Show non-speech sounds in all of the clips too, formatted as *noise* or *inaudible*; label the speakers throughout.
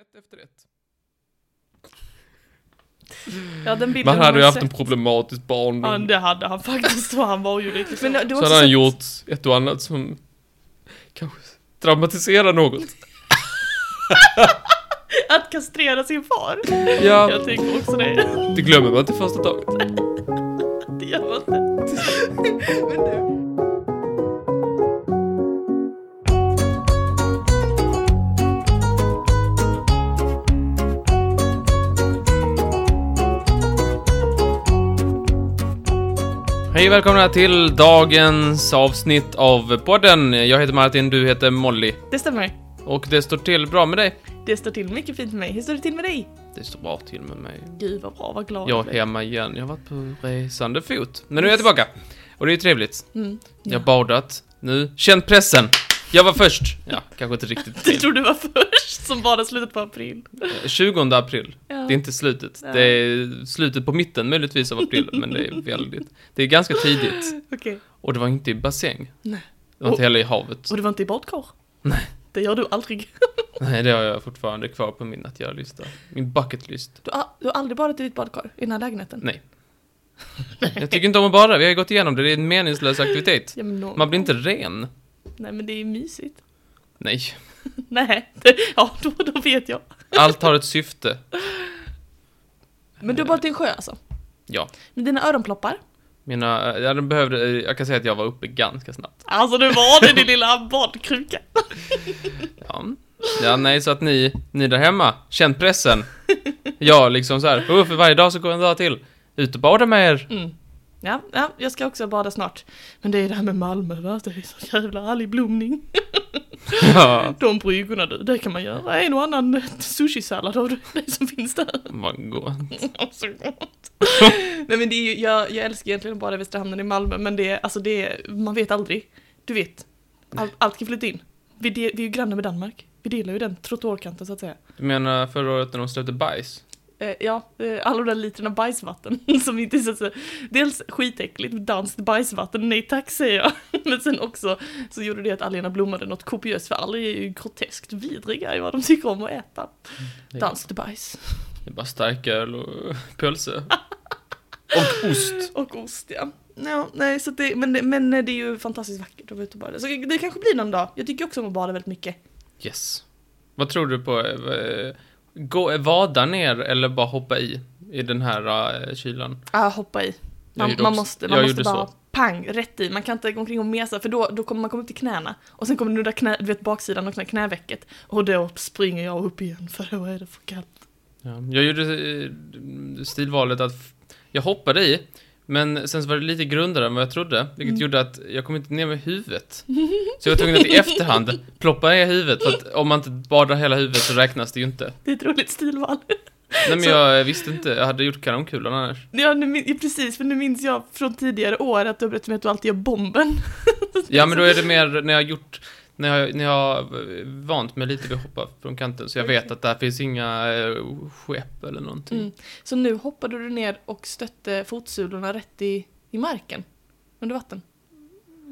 Speaker 1: ett efter ett.
Speaker 2: Ja, den bilden
Speaker 1: Men han
Speaker 2: har
Speaker 1: hade ju
Speaker 2: man
Speaker 1: haft en
Speaker 2: sett.
Speaker 1: problematisk
Speaker 2: Ja,
Speaker 1: barndom.
Speaker 2: det hade han faktiskt och han var ju riktigt
Speaker 3: Men du
Speaker 1: Så hade
Speaker 3: har
Speaker 1: han
Speaker 3: också
Speaker 1: gjort ett och annat som kanske dramatiserar något.
Speaker 2: Att kastrera sin far.
Speaker 1: Ja,
Speaker 2: Jag tänker också det.
Speaker 1: det glömmer man inte första taget.
Speaker 2: Det gör man inte.
Speaker 3: Men du.
Speaker 1: Hej och välkomna till dagens avsnitt av podden. Jag heter Martin, du heter Molly.
Speaker 2: Det stämmer.
Speaker 1: Och det står till bra med dig?
Speaker 2: Det står till mycket fint med mig. Hur står det till med dig?
Speaker 1: Det står bra till med mig.
Speaker 2: Gud vad bra, vad glad
Speaker 1: Jag är
Speaker 2: blev.
Speaker 1: hemma igen. Jag har varit på resande fot. Men nu är jag tillbaka. Och det är ju trevligt.
Speaker 2: Mm.
Speaker 1: Jag har badat. Nu, känt pressen. Jag var först. Ja, kanske inte
Speaker 2: *laughs*
Speaker 1: riktigt.
Speaker 2: Det
Speaker 1: fel.
Speaker 2: tror du var först som bara slutet på april.
Speaker 1: Eh, 20 april.
Speaker 2: Ja.
Speaker 1: Det är inte slutet.
Speaker 2: Nej.
Speaker 1: Det är slutet på mitten möjligtvis av april, men det är väldigt... Det är ganska tidigt.
Speaker 2: Okej.
Speaker 1: Och det var inte i bassäng.
Speaker 2: Nej.
Speaker 1: Det var inte heller i havet.
Speaker 2: Och det var inte i badkar?
Speaker 1: Nej.
Speaker 2: Det gör du aldrig.
Speaker 1: Nej, det har jag fortfarande kvar på min att göra-lista. Min bucketlist.
Speaker 2: Du har, du har aldrig badat i ditt badkar? I den här lägenheten? *laughs*
Speaker 1: Nej. Jag tycker inte om att bada, vi har ju gått igenom det. Det är en meningslös aktivitet.
Speaker 2: Ja, men någon-
Speaker 1: Man blir inte ren.
Speaker 2: Nej men det är mysigt.
Speaker 1: Nej.
Speaker 2: Nej, *laughs* det, ja då, då vet jag.
Speaker 1: Allt har ett syfte.
Speaker 2: Men du har badat i en sjö alltså?
Speaker 1: Ja.
Speaker 2: Med dina öronploppar?
Speaker 1: Mina, jag hade behövde, jag kan säga att jag var uppe ganska snabbt.
Speaker 2: Alltså nu var det din lilla badkruka.
Speaker 1: Ja. Ja, nej, så att ni, ni där hemma, känn pressen. Jag liksom så här, "Åh, för varje dag så går en dag till. Ut och bada med *laughs* er.
Speaker 2: Mm. Ja, ja, jag ska också bada snart. Men det är det här med Malmö va, det är så jävla härlig blomning.
Speaker 1: Ja,
Speaker 2: De bryggorna du, det kan man göra en och annan eh, sushisallad av det som finns där.
Speaker 1: vad gott.
Speaker 2: Så gott. Nej men det är ju, jag, jag älskar egentligen bara Västra Hamnen i Malmö men det är, alltså det är, man vet aldrig. Du vet, all, allt kan flytta in. Vi, de, vi är ju grannar med Danmark. Vi delar ju den trottoarkanten så att säga.
Speaker 1: Du menar förra året när de släppte bajs?
Speaker 2: Eh, ja, eh, alla de där literna bajsvatten *laughs* som inte är så, så Dels skitäckligt, danskt bajsvatten, nej tack säger jag. *laughs* Men sen också så gjorde det att algerna blommade något kopiöst för alger är ju groteskt vidriga i vad de tycker om att äta.
Speaker 1: Mm, det är-
Speaker 2: Danskt bajs.
Speaker 1: Det är bara starköl och *laughs* pölse. Och ost.
Speaker 2: Och ost ja. Ja, nej, så att det, men, det- men det är ju fantastiskt vackert att vara ute och bada. Så det kanske blir någon dag. Jag tycker också om att bada väldigt mycket.
Speaker 1: Yes. Vad tror du på? eh, Gå, vada ner eller bara hoppa i? I den här eh, kylan?
Speaker 2: Ja, hoppa i.
Speaker 1: Jag
Speaker 2: Man,
Speaker 1: gjorde
Speaker 2: man
Speaker 1: också-
Speaker 2: måste, man
Speaker 1: jag
Speaker 2: måste
Speaker 1: gjorde
Speaker 2: bara
Speaker 1: så.
Speaker 2: pang, rätt i. Man kan inte gå omkring och mesa för då, då kommer man komma upp till knäna. Och sen kommer du nudda knä, du vet baksidan och knä, knävecket. Och då springer jag upp igen för då är det för kallt.
Speaker 1: Ja, jag gjorde eh, stilvalet att f- jag hoppade i, men sen så var det lite grundare än vad jag trodde, vilket
Speaker 2: Mm.
Speaker 1: gjorde att jag kom inte ner med huvudet. Så jag var tvungen att i efterhand ploppa ner huvudet, för att om man inte badar hela huvudet så räknas det ju inte.
Speaker 2: Det är ett roligt stilval. *laughs*
Speaker 1: Nej men
Speaker 2: Så-
Speaker 1: jag visste inte, jag hade gjort kanonkulan annars.
Speaker 2: Ja, nu, min- ja, precis, för nu minns jag från tidigare år att du har berättat för mig att du alltid gör bomben.
Speaker 1: Ja men då är det mer när jag har gjort, när jag, när jag har vant mig lite vid att hoppa från kanten, så jag vet att där finns inga eh, skepp eller någonting.
Speaker 2: Mm. Så nu hoppade du ner och stötte fotsulorna rätt i, i marken. Under vatten.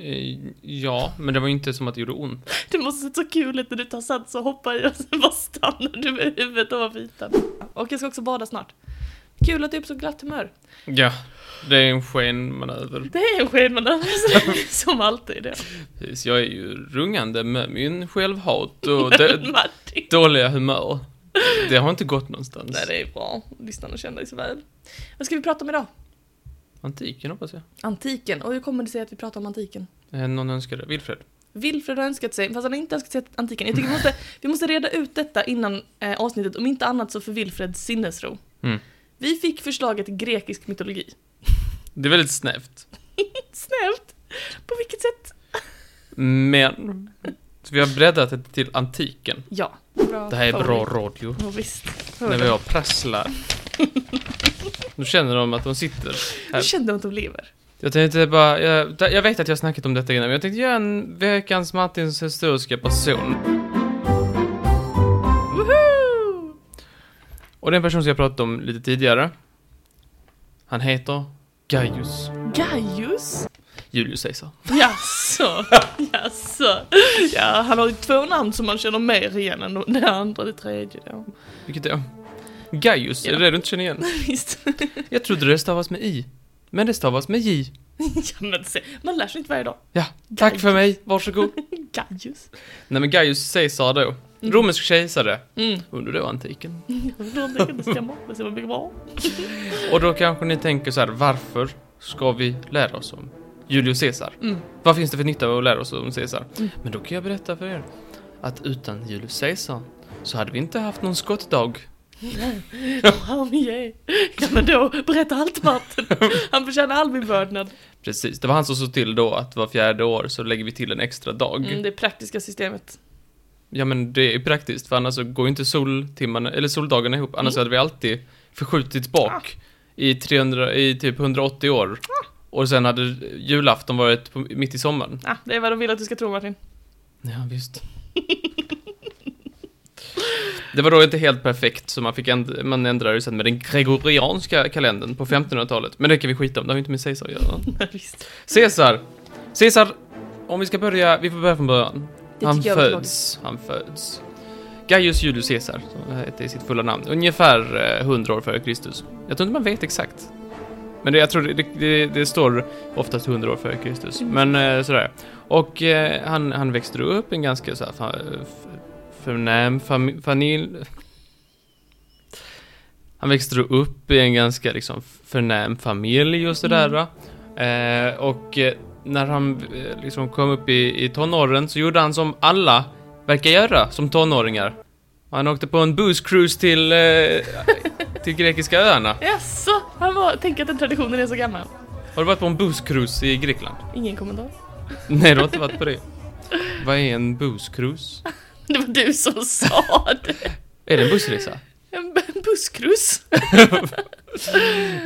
Speaker 1: Eh, Ja, men det var ju inte som att det gjorde ont.
Speaker 2: Det måste se så kul ut när du tar sats och hoppar i och sen bara stannar du med huvudet ovanför ytan. Och jag ska också bada snart. Kul att du är på så glatt humör.
Speaker 1: Ja, det är en skenmanöver.
Speaker 2: Det är en
Speaker 1: *laughs*
Speaker 2: skenmanöver som alltid. är
Speaker 1: Precis, jag är ju rungande med min självhat och
Speaker 2: Det. *laughs*
Speaker 1: det,
Speaker 2: Martin.
Speaker 1: dåliga humör. Det har inte gått någonstans.
Speaker 2: Nej, det är bra. Lyssnarna känner dig så väl. Vad ska vi prata om idag?
Speaker 1: Antiken hoppas jag.
Speaker 2: Antiken. Och hur kommer det sig att vi pratar om antiken?
Speaker 1: Eh, Någon önskade. Wilfred.
Speaker 2: Wilfred har önskat sig, fast han har inte önskat sig antiken. Jag tycker vi måste, vi måste reda ut detta innan eh, avsnittet, om inte annat så för Wilfreds sinnesro.
Speaker 1: Mm.
Speaker 2: Vi fick förslaget grekisk mytologi.
Speaker 1: Det är väldigt snävt.
Speaker 2: Snällt! På vilket sätt?
Speaker 1: Men. Så vi har breddat det till antiken.
Speaker 2: Ja.
Speaker 1: Det här är bra radio.
Speaker 2: Ja, visst.
Speaker 1: När vi har prasslar. Nu känner de att de sitter
Speaker 2: Nu
Speaker 1: här.
Speaker 2: kände jag att de lever.
Speaker 1: Jag tänkte bara, jag, jag vet att jag har snackat om detta innan, men jag tänkte göra en veckans Martins historiska person.
Speaker 2: Woho!
Speaker 1: Och den person som jag pratat om lite tidigare. Han heter Gaius.
Speaker 2: Gaius!
Speaker 1: Julius Caesar.
Speaker 2: Jaså, jaså. Ja, han har ju två namn som man känner mer igen än det andra, det tredje. Ja,
Speaker 1: Vilket är? Gaius, är
Speaker 2: Ja.
Speaker 1: det det du inte känner igen?
Speaker 2: visst.
Speaker 1: *laughs* Jag trodde det stavas med i, men det stavas med j.
Speaker 2: Ja, men se, man lär sig inte varje dag.
Speaker 1: Ja, tack för mig, varsågod. Mm.
Speaker 2: Gaius.
Speaker 1: *laughs* Nej men Gaius Caesar då. Romersk kejsare
Speaker 2: Mm.
Speaker 1: under då *laughs* antiken.
Speaker 2: Någonting kan inte stämma, men se vad mycket bra.
Speaker 1: Och då kanske ni tänker så här, varför ska vi lära oss om Julius Caesar? Vad finns det för nytta med att lära oss om Caesar? Men då kan jag berätta för er att utan Julius Caesar så hade vi inte haft någon skottdag.
Speaker 2: Wow, yeah. Ja, men då, berätta allt Martin. Han förtjänar all min vördnad.
Speaker 1: Precis, det var han som såg till då att var fjärde år så lägger vi till en extra dag.
Speaker 2: Mm, det praktiska systemet.
Speaker 1: Ja men det är praktiskt för annars så går ju inte soltimmarna, eller soldagarna ihop, annars
Speaker 2: Mm.
Speaker 1: hade vi alltid förskjutits bak
Speaker 2: Ah.
Speaker 1: i 300, i typ 180 år. Och sen hade julafton varit på, mitt i sommaren.
Speaker 2: Ah, det är vad de vill att du ska tro *laughs* Martin.
Speaker 1: Ja, visst. *laughs* Det var då inte helt perfekt, så man, fick änd- man ändrade det sen med den gregorianska kalendern på 1500-talet. Men det kan vi skita om, det har ju inte med Caesar att göra.
Speaker 2: Nej, visst.
Speaker 1: Caesar! Caesar, om vi ska börja, vi får börja från början.
Speaker 2: Det
Speaker 1: Han
Speaker 2: tycker jag låter
Speaker 1: föds, han föds. Gaius Julius Caesar, som han hette i sitt fulla namn. Ungefär eh, 100 år före Kristus. Jag tror inte man vet exakt. Men det, jag tror det, det, det, det står oftast 100 år före Kristus.
Speaker 2: Mm.
Speaker 1: Men eh, sådär. Och eh, han, han växte då upp i en ganska så här, fa, f- förnäm fami, familj. Han växte då upp i en ganska liksom förnäm familj och sådär. va. Eh, och eh, när han eh, liksom kom upp i, i tonåren så gjorde han som alla verkar göra som tonåringar. Han åkte på en booze cruise till, eh, till grekiska öarna.
Speaker 2: Jaså, han var, tänk att den traditionen är så gammal.
Speaker 1: Har du varit på en booze cruise i Grekland?
Speaker 2: Ingen kommentar.
Speaker 1: Nej, du har inte varit på det. Vad är en booze cruise?
Speaker 2: Det var du som sa det.
Speaker 1: Är det en bussresa?
Speaker 2: En b- en busskryss.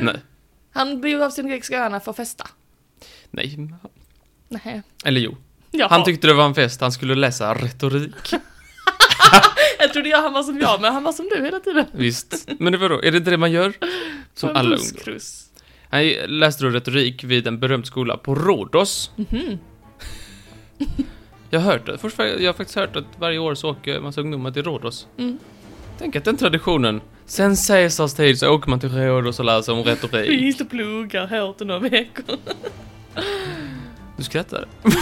Speaker 1: Nej.
Speaker 2: Han begav sig till de grekiska öarna för att festa.
Speaker 1: Nej.
Speaker 2: Nej.
Speaker 1: Eller jo.
Speaker 2: Jaha.
Speaker 1: Han tyckte det var en fest, han skulle läsa
Speaker 2: *laughs*
Speaker 1: retorik.
Speaker 2: Jag trodde jag han var som jag, men han var som du hela tiden.
Speaker 1: Visst. Men det var då, är det inte det man gör? Som
Speaker 2: En
Speaker 1: alla ungdomar.
Speaker 2: busskryss.
Speaker 1: Han läste då retorik vid en berömd skola på Rhodos.
Speaker 2: Mhm.
Speaker 1: *laughs* jag har hört det. Först, jag har faktiskt hört att varje år så åker en massa ungdomar till Rhodos.
Speaker 2: Mm.
Speaker 1: Tänk att den traditionen. Sen Caesars tid så åker man till Rhodos och läser om
Speaker 2: Vi *laughs*
Speaker 1: retorik.
Speaker 2: gick och pluggar hårt i några veckor.
Speaker 1: Du skrattar. *laughs*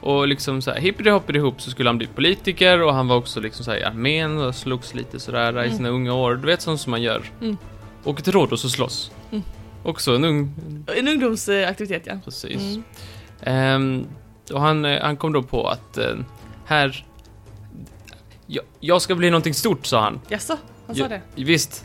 Speaker 1: och liksom så här, hippity hoppity hopp så skulle han bli politiker och han var också liksom så här i armén och slogs lite sådär i sina unga år. Du vet sånt som man gör.
Speaker 2: Mm.
Speaker 1: Åker till Rhodos och slåss.
Speaker 2: Mm.
Speaker 1: Också en ung,
Speaker 2: En ungdomsaktivitet, ja.
Speaker 1: Precis.
Speaker 2: Mm.
Speaker 1: Ehm, och han, eh, han kom då på att eh, här... Jag, jag ska bli någonting stort, sa han.
Speaker 2: Jaså, han
Speaker 1: Ja.
Speaker 2: sa det?
Speaker 1: Visst.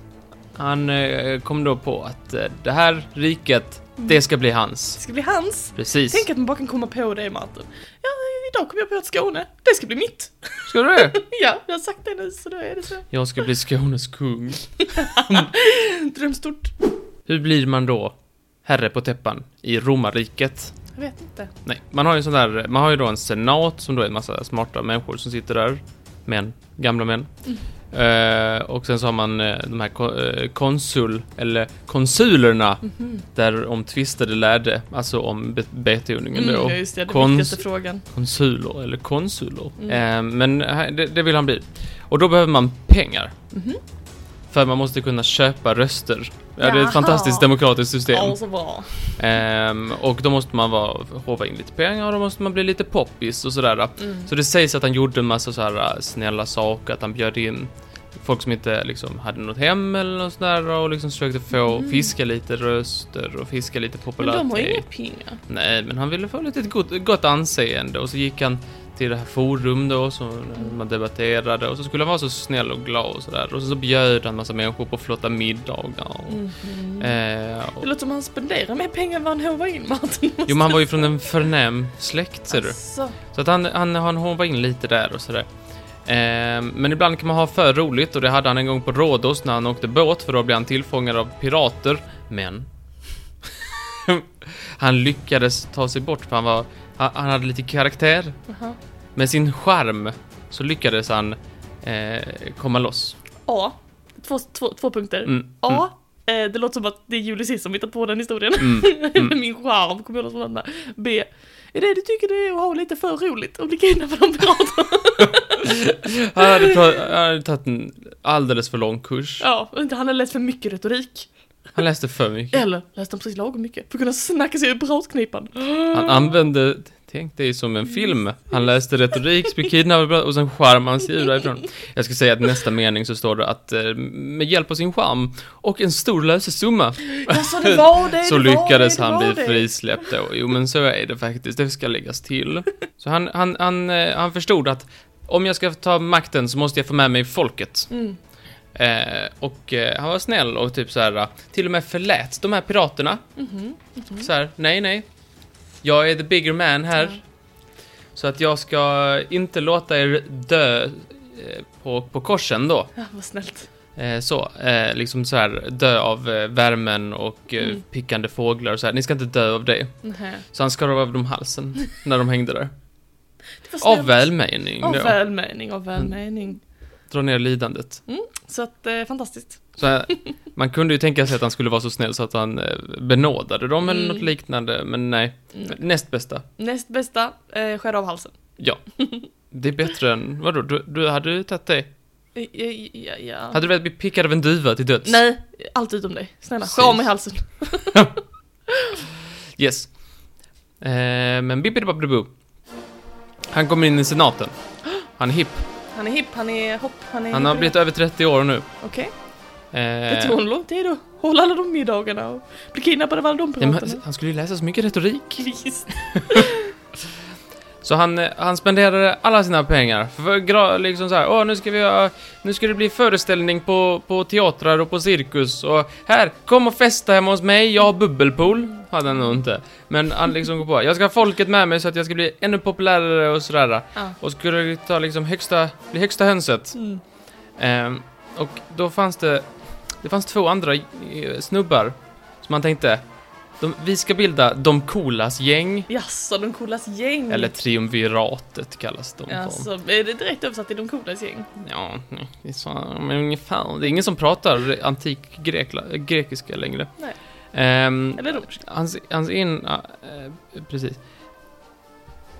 Speaker 1: Han eh, kom då på att eh, det här riket, det ska bli
Speaker 2: Det
Speaker 1: hans.
Speaker 2: ska bli hans.
Speaker 1: Precis.
Speaker 2: Mm. Tänk att man bara kan komma på det, Martin. Ja, idag kom jag på att Skåne, det ska bli mitt.
Speaker 1: Ska du det?
Speaker 2: Ja, jag har sagt det nu, så då är det så.
Speaker 1: Jag ska bli Skånes kung.
Speaker 2: Drömstort.
Speaker 1: Hur blir man då herre på täppan i romarriket?
Speaker 2: Jag vet inte.
Speaker 1: Nej, man har ju en sån där, man har ju då en senat som då är en massa smarta människor som sitter där. Män, gamla män.
Speaker 2: Mm.
Speaker 1: Eh, och sen så har man eh, de här ko- eh, konsul, eller konsulerna,
Speaker 2: Mhm.
Speaker 1: där om tvistade lärde, alltså om be- betodlingen
Speaker 2: Mm,
Speaker 1: då.
Speaker 2: ja, just det, den
Speaker 1: Konst-
Speaker 2: viktigaste frågan.
Speaker 1: Konsuler, eller konsuler.
Speaker 2: Mm.
Speaker 1: Eh, men här- det, det vill han bli. Och då behöver man pengar.
Speaker 2: Mm-hmm.
Speaker 1: För man måste kunna köpa röster. Ja, det är
Speaker 2: Jaha.
Speaker 1: ett fantastiskt demokratiskt system.
Speaker 2: Ja, så bra.
Speaker 1: Ehm, och då måste man vara, hova in lite pengar och då måste man bli lite poppis och sådär.
Speaker 2: Mm.
Speaker 1: Så det sägs att han gjorde en massa så här äh, snälla saker, att han bjöd in folk som inte liksom hade något hem eller något sådär och liksom försökte få fiska lite röster och fiska lite
Speaker 2: Mm.
Speaker 1: popularitet.
Speaker 2: Men de har ju inga pengar.
Speaker 1: Nej, men han ville få lite gott, gott anseende och så gick han till det här forum då som man debatterade och så skulle han vara så snäll och glad och sådär och så, så bjöd han massa människor på flotta middagar och, Mm. eh, och
Speaker 2: Mm. Det låter som att han spenderar mer pengar än vad han håvar in, Martin.
Speaker 1: Jo men han var ju från en förnäm släkt ser du.
Speaker 2: Alltså,
Speaker 1: Så att han, han, han hovar in lite där och sådär. Ehm, men ibland kan man ha för roligt och det hade han en gång på Rhodos när han åkte båt för då blev han tillfångad av pirater. Men... *laughs* han lyckades ta sig bort för han var... Han, han hade lite karaktär.
Speaker 2: Jaha.
Speaker 1: Med sin charm så lyckades han eh, komma loss.
Speaker 2: A. Två, två, två punkter.
Speaker 1: Mm,
Speaker 2: A. Eh, det låter som att det är Julie Cis som hittat på den historien. *laughs*
Speaker 1: Mm.
Speaker 2: Min charm kommer jag från där. B. Är det du tycker det är att ha lite för roligt och bli kidnappad
Speaker 1: *laughs*
Speaker 2: av pirater?
Speaker 1: Han hade, pra- han hade tagit en alldeles för lång kurs.
Speaker 2: ja, inte han har läst för mycket retorik.
Speaker 1: Han läste för mycket.
Speaker 2: Eller läst han precis lagom mycket för att kunna snacka sig ur piratknipan. *gasps*
Speaker 1: Han använde, tänk dig som en film. Han läste retorik, blev kidnappad och sen charmade han sig ur därifrån. Jag ska säga att nästa mening så står det att eh, med hjälp av sin charm och en stor lösesumma
Speaker 2: Alltså det var det,
Speaker 1: så
Speaker 2: det var
Speaker 1: lyckades
Speaker 2: det, det var
Speaker 1: han bli
Speaker 2: det.
Speaker 1: frisläppt då. Jo men så är det faktiskt, det ska läggas till. Så han, han, han, eh, han förstod att om jag ska ta makten så måste jag få med mig folket.
Speaker 2: Mm.
Speaker 1: Eh, och eh, han var snäll och typ så här eh, till och med förlät de här piraterna.
Speaker 2: mhm.
Speaker 1: Så här, nej nej. Jag är the bigger man här.
Speaker 2: Mm. Ja.
Speaker 1: Så att jag ska inte låta er dö eh, på, på korsen då.
Speaker 2: Ja, vad snällt.
Speaker 1: Eh, så, eh, liksom så här dö av eh, värmen och eh,
Speaker 2: Mm.
Speaker 1: pickande fåglar och så här. Ni ska inte dö av det.
Speaker 2: Nähä.
Speaker 1: Så han skar av dem halsen när de hängde
Speaker 2: *laughs*
Speaker 1: där.
Speaker 2: Det var snällt.
Speaker 1: Av välmening
Speaker 2: Av
Speaker 1: då. Mm.
Speaker 2: välmening, av välmening.
Speaker 1: Dra ner lidandet.
Speaker 2: Så att, eh, fantastiskt.
Speaker 1: Så här, man kunde ju tänka sig att han skulle vara så snäll så att han eh, benådade dem eller
Speaker 2: Mm.
Speaker 1: något liknande, men nej. Näst bästa.
Speaker 2: Näst bästa, eh, skär av halsen.
Speaker 1: Ja. Det är bättre än, vadå, du, du hade ju tagit det?
Speaker 2: Eh, eh, Ja, ja.
Speaker 1: Hade du velat bli pickad av en duva till döds?
Speaker 2: Nej, allt utom dig. Snälla, skär
Speaker 1: Precis.
Speaker 2: av mig halsen.
Speaker 1: Yes. Eh, men bippidi Han kommer in i senaten. Han är hipp.
Speaker 2: Han är hipp, han är hopp, han är...
Speaker 1: Han har blivit över 30 år nu.
Speaker 2: Okej, det
Speaker 1: Eh,
Speaker 2: tog honom lång tid att hålla alla de middagarna och bli kidnappad av alla de
Speaker 1: ja, men
Speaker 2: piraterna.
Speaker 1: han skulle ju läsa så mycket retorik.
Speaker 2: Visst.
Speaker 1: Så han, eh, han spenderade alla sina pengar. För gra- liksom så här, åh nu ska vi ha, nu ska det bli föreställning på, på teatrar och på cirkus och här, kom och festa hemma hos mig, jag har bubbelpool. Hade han nog inte. Men han liksom går på, jag ska ha folket med mig så att jag ska bli ännu populärare och sådär.
Speaker 2: Ja.
Speaker 1: Och skulle ta liksom högsta, bli högsta hönset.
Speaker 2: Mm.
Speaker 1: Ehm, och då fanns det, det fanns två andra eh, snubbar som man tänkte, de, vi ska bilda de coolas gäng.
Speaker 2: Jaså, de coolas gäng?
Speaker 1: Eller triumviratet kallas de.
Speaker 2: Alltså, är det direkt översatt till de coolas gäng?
Speaker 1: Ja, det är, så, men ungefär. det är ingen som pratar antik grekla, grekiska längre.
Speaker 2: Nej.
Speaker 1: Ehm,
Speaker 2: Eller romerska?
Speaker 1: hans, hans ena... Eh, precis.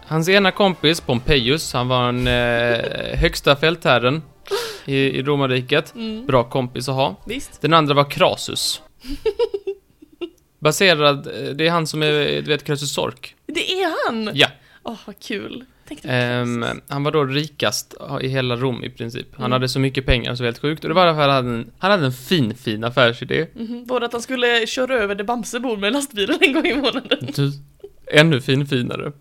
Speaker 1: Hans ena kompis, Pompejus, han var den eh, högsta fältherren i, i romarriket.
Speaker 2: Mm.
Speaker 1: Bra kompis att ha.
Speaker 2: Visst.
Speaker 1: Den andra var Krasus. Baserad, eh, det är han som är, du vet, Krasus Sork.
Speaker 2: Det är han!
Speaker 1: Ja.
Speaker 2: Åh, vad kul. Tänk dig
Speaker 1: Ehm, han var då rikast i hela Rom i princip. Han
Speaker 2: Mm.
Speaker 1: hade så mycket pengar så helt sjukt. Och det var därför han hade en, han hade en fin, fin affärsidé.
Speaker 2: Mhm, Både att han skulle köra över det Bamse bor med lastbilen en gång i månaden.
Speaker 1: Du, Typ ännu fin, finare.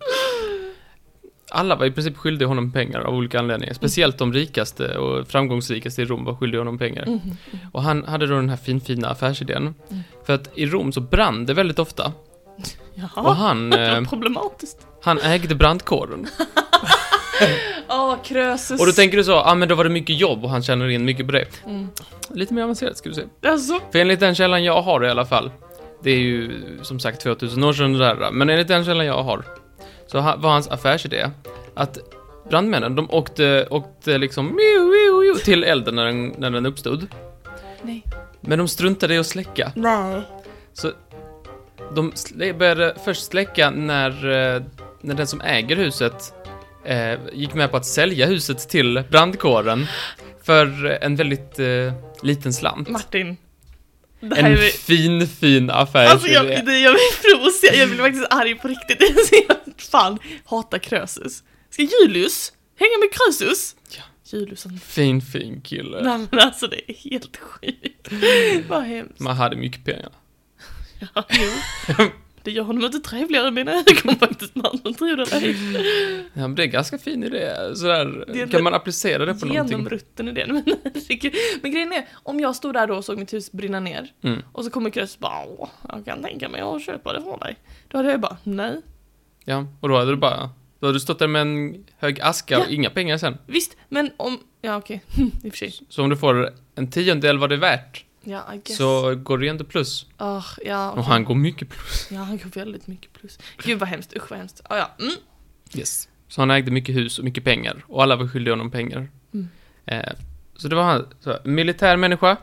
Speaker 1: Alla var i princip skyldiga honom pengar av olika
Speaker 2: Mm.
Speaker 1: anledningar. Speciellt de rikaste och framgångsrikaste i Rom var skyldiga honom pengar.
Speaker 2: Mm,
Speaker 1: Och han hade då den här fin, fina affärsidén. För att i Rom så brann det väldigt ofta. Och
Speaker 2: Jaha,
Speaker 1: han,
Speaker 2: det
Speaker 1: eh,
Speaker 2: var problematiskt.
Speaker 1: han ägde brandkåren.
Speaker 2: Åh, Krösus.
Speaker 1: Och då tänker du så, ah, men då var det mycket jobb och han tjänar in mycket på det.
Speaker 2: Mm.
Speaker 1: Lite mer avancerat ska du säga.
Speaker 2: Alltså,
Speaker 1: För enligt den källan jag har i alla fall, det är ju som sagt 2000 år sedan det där, men enligt den källan jag har, så ha- var hans affärsidé att brandmännen, de åkte, åkte liksom miu, miu, miu, till elden när den, när den uppstod.
Speaker 2: nej.
Speaker 1: Men de struntade i att släcka.
Speaker 2: Nej.
Speaker 1: Så de slä- började först släcka när, eh, när den som äger huset eh, gick med på att sälja huset till brandkåren för en väldigt eh, liten slant.
Speaker 2: Martin. Det här
Speaker 1: En
Speaker 2: är...
Speaker 1: fin, fin affärsidé.
Speaker 2: Alltså jag, det, jag blir provocerad, jag blir faktiskt arg på riktigt. *laughs* Så jag fan hatar Krösus. Ska Julius hänga med Krösus?
Speaker 1: Ja.
Speaker 2: Julius han...
Speaker 1: Fin, fin kille.
Speaker 2: Nej men alltså det är helt sjukt.
Speaker 1: Mm.
Speaker 2: Vad hemskt.
Speaker 1: Man hade mycket pengar.
Speaker 2: Ja,
Speaker 1: *laughs*
Speaker 2: jo. Det gör honom inte trevligare i mina ögon *laughs* faktiskt, Martin. Tror det eller ej.
Speaker 1: Ja, men det är en ganska fin idé. Sådär.
Speaker 2: Det är
Speaker 1: kan
Speaker 2: väl
Speaker 1: man applicera det på någonting?
Speaker 2: Genomrutten i den. Men, *laughs* herregud. men grejen är, om jag stod där då och såg mitt hus brinna ner
Speaker 1: Mm.
Speaker 2: och så kommer Krösus bara Åh, jag kan tänka mig att köpa det från dig. Då hade jag bara nej.
Speaker 1: Ja, och då hade du bara... Då hade du stått där med en hög aska och
Speaker 2: Ja.
Speaker 1: inga pengar sen.
Speaker 2: Visst, men om, ja okej, *laughs* i och för sig.
Speaker 1: Så om du får en tiondel vad det är värt,
Speaker 2: Ja, I guess.
Speaker 1: så går det ändå plus.
Speaker 2: Ah, ja,
Speaker 1: Och
Speaker 2: okej.
Speaker 1: han går mycket plus.
Speaker 2: ja, han går väldigt mycket plus. Gud vad hemskt, usch vad hemskt. Ah, ja. mm.
Speaker 1: Yes. Så han ägde mycket hus och mycket pengar. Och alla var skyldiga honom pengar.
Speaker 2: Mm.
Speaker 1: Eh, så det var han. Så, militär människa.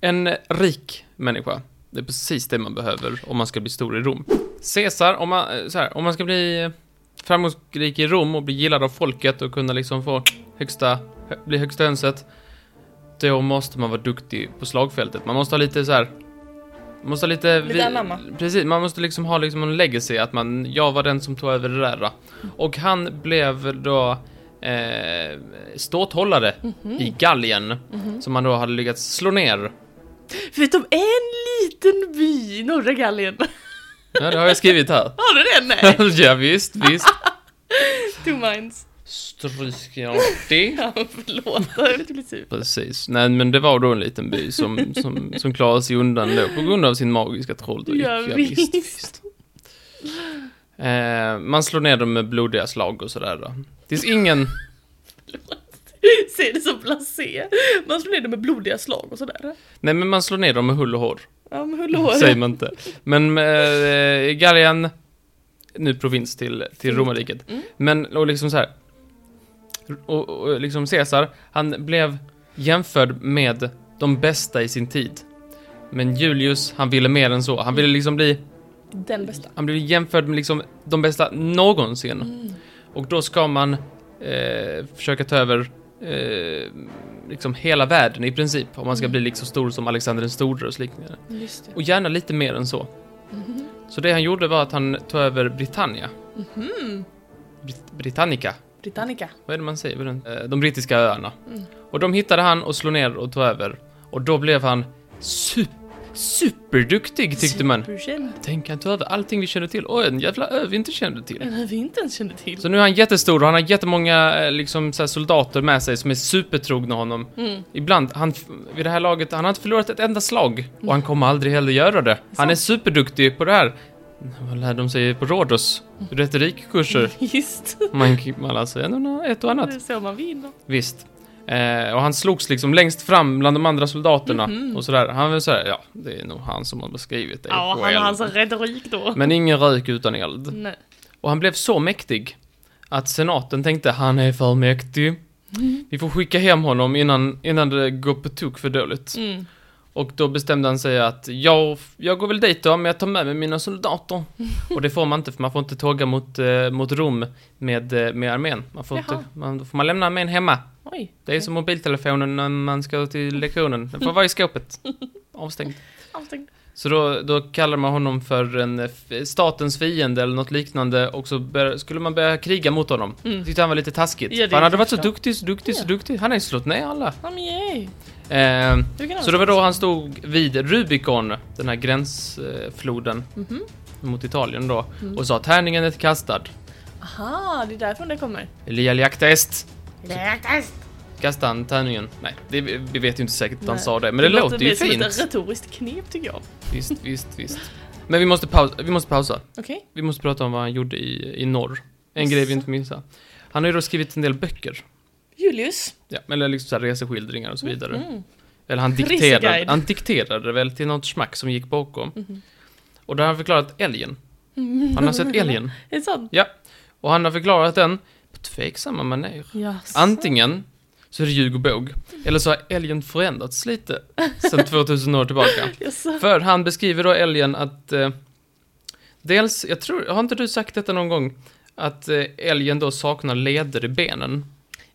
Speaker 1: En rik människa. Det är precis det man behöver om man ska bli stor i Rom. Caesar, om man, eh, så här, om man ska bli eh, framgångsrik i Rom och bli gillad av folket och kunna liksom få högsta, hö- bli högsta hönset. Då måste man vara duktig på slagfältet. Man måste ha lite så här. man Måste ha lite...
Speaker 2: Lite
Speaker 1: vi-
Speaker 2: anamma.
Speaker 1: Precis, man måste liksom ha liksom en legacy att man, jag var den som tog över det där. då.
Speaker 2: Mm.
Speaker 1: Och han blev då eh, ståthållare
Speaker 2: Mhm.
Speaker 1: i Gallien. Som man då hade lyckats slå ner.
Speaker 2: Förutom en liten by i norra Gallien.
Speaker 1: Ja, det har jag skrivit här.
Speaker 2: *laughs* Har du det?
Speaker 1: *laughs*
Speaker 2: Nej!
Speaker 1: ja, visst, visst.
Speaker 2: Two minds.
Speaker 1: Stryk jag det.
Speaker 2: Ja, förlåt, jag vet inte sur.
Speaker 1: Precis. Nej, men det var då en liten by som, som, som klarade sig undan då på grund av sin magiska trolldryck.
Speaker 2: Ja, visst. *laughs*
Speaker 1: Eh, man slår ner dem med blodiga slag och sådär då. Tills ingen...
Speaker 2: Se det som blasé. Man slår ner det med blodiga slag och sådär.
Speaker 1: Nej, men man slår ner dem med hull och hår.
Speaker 2: Ja, men hur
Speaker 1: *laughs*
Speaker 2: låter
Speaker 1: Säger man inte. Men eh, Gallien, nu provins till, till
Speaker 2: Fint.
Speaker 1: romarriket.
Speaker 2: Mm.
Speaker 1: Men, och liksom så här. Och, och liksom Caesar, han blev jämförd med de bästa i sin tid. Men Julius, han ville mer än så. Han ville liksom bli,
Speaker 2: Den bästa.
Speaker 1: han blev jämförd med liksom de bästa någonsin.
Speaker 2: Mm.
Speaker 1: Och då ska man eh, försöka ta över eh, liksom hela världen i princip. Om man ska
Speaker 2: Mm.
Speaker 1: bli liksom stor som Alexander den store och så liknande.
Speaker 2: Just det.
Speaker 1: Och gärna lite mer än så. Så det han gjorde var att han tog över Britannia. Brit- Britannica,
Speaker 2: Britannica.
Speaker 1: vad är det man säger? på den? Eh, De brittiska öarna. Och de hittade han och slog ner och tog över. Och då blev han super, superduktig tyckte man.
Speaker 2: Superkänd.
Speaker 1: Tänk han tog över allting vi kände till och en jävla ö vi inte kände till.
Speaker 2: Den här vi inte ens kände till.
Speaker 1: Så nu är han jättestor och han har jättemånga eh, liksom, så här, soldater med sig som är supertrogna honom.
Speaker 2: Mm.
Speaker 1: Ibland, han, vid det här laget, han har inte förlorat ett enda slag och han kommer aldrig heller göra det. Han är superduktig på det här. Vad lär de sig på Rhodos? Retorikkurser.
Speaker 2: Just
Speaker 1: Man, man lär sig ändå nå- ett och annat.
Speaker 2: det. är så man vinner.
Speaker 1: Visst. Eh, och han slogs liksom längst fram bland de andra soldaterna
Speaker 2: Mhm.
Speaker 1: och sådär. Han var såhär, ja, det är nog han som har beskrivit det
Speaker 2: Ja, han
Speaker 1: själv.
Speaker 2: har hans retorik då.
Speaker 1: Men ingen rök utan eld.
Speaker 2: Nej.
Speaker 1: Och han blev så mäktig att senaten tänkte han är för mäktig.
Speaker 2: Mhm.
Speaker 1: Vi får skicka hem honom innan, innan det går på tok för dåligt.
Speaker 2: Mm.
Speaker 1: Och då bestämde han sig att jag, jag går väl dit då, men jag tar med mig mina
Speaker 2: *laughs*
Speaker 1: soldater. Och det får man inte, för man får inte tåga mot, eh, mot Rom med, eh, med armén. Man får,
Speaker 2: Jaha.
Speaker 1: inte, man, då får man lämna armén hemma.
Speaker 2: Oj.
Speaker 1: Det är som mobiltelefonen när man ska till lektionen. Den får vara i
Speaker 2: *laughs*
Speaker 1: skåpet. Avstängd.
Speaker 2: Avstängd.
Speaker 1: Så då, då kallar man honom för en eh, f- statens fiende eller något liknande och så bör, skulle man börja kriga mot honom.
Speaker 2: Mm.
Speaker 1: Tyckte han var lite taskigt.
Speaker 2: Ja, det
Speaker 1: för han hade varit så
Speaker 2: förstår.
Speaker 1: duktig, så duktig, så
Speaker 2: Ja.
Speaker 1: duktig. Han har ju slått ner alla.
Speaker 2: Ja, men yay.
Speaker 1: Eh,
Speaker 2: Du kan
Speaker 1: så det var då han stod vid Rubicon, den här gränsfloden
Speaker 2: Mhm. Mm.
Speaker 1: mot Italien då, och sa tärningen är kastad.
Speaker 2: Aha, det är därifrån det kommer.
Speaker 1: Elia liakta est.
Speaker 2: Läktast.
Speaker 1: Kastade han tärningen? Nej, det, vi vet ju inte säkert att han
Speaker 2: Nej.
Speaker 1: sa det, men det, låter ju
Speaker 2: Det låter mer
Speaker 1: fint.
Speaker 2: som ett retoriskt knep tycker jag.
Speaker 1: Visst, visst, visst. Men vi måste, pausa, vi måste pausa.
Speaker 2: Okej.
Speaker 1: Vi måste prata om vad han gjorde i, i norr. En grej vi inte missade. Han har ju då skrivit en del böcker.
Speaker 2: Julius.
Speaker 1: Ja, eller liksom så här reseskildringar och så vidare.
Speaker 2: Mm.
Speaker 1: Eller han dikterade,
Speaker 2: Reseguide.
Speaker 1: han dikterade väl till något smack som gick bakom. Och där har han förklarat älgen. Han har sett älgen.
Speaker 2: Mm. *laughs* Är det sant?
Speaker 1: Ja. Och han har förklarat den på tveksamma manér.
Speaker 2: Yes.
Speaker 1: Antingen så är det ljug och båg, eller så har älgen förändrats lite sedan 2000 år tillbaka.
Speaker 2: Yes.
Speaker 1: För han beskriver då älgen att eh, dels, jag tror, har inte du sagt detta någon gång? Att eh, älgen då saknar leder i benen.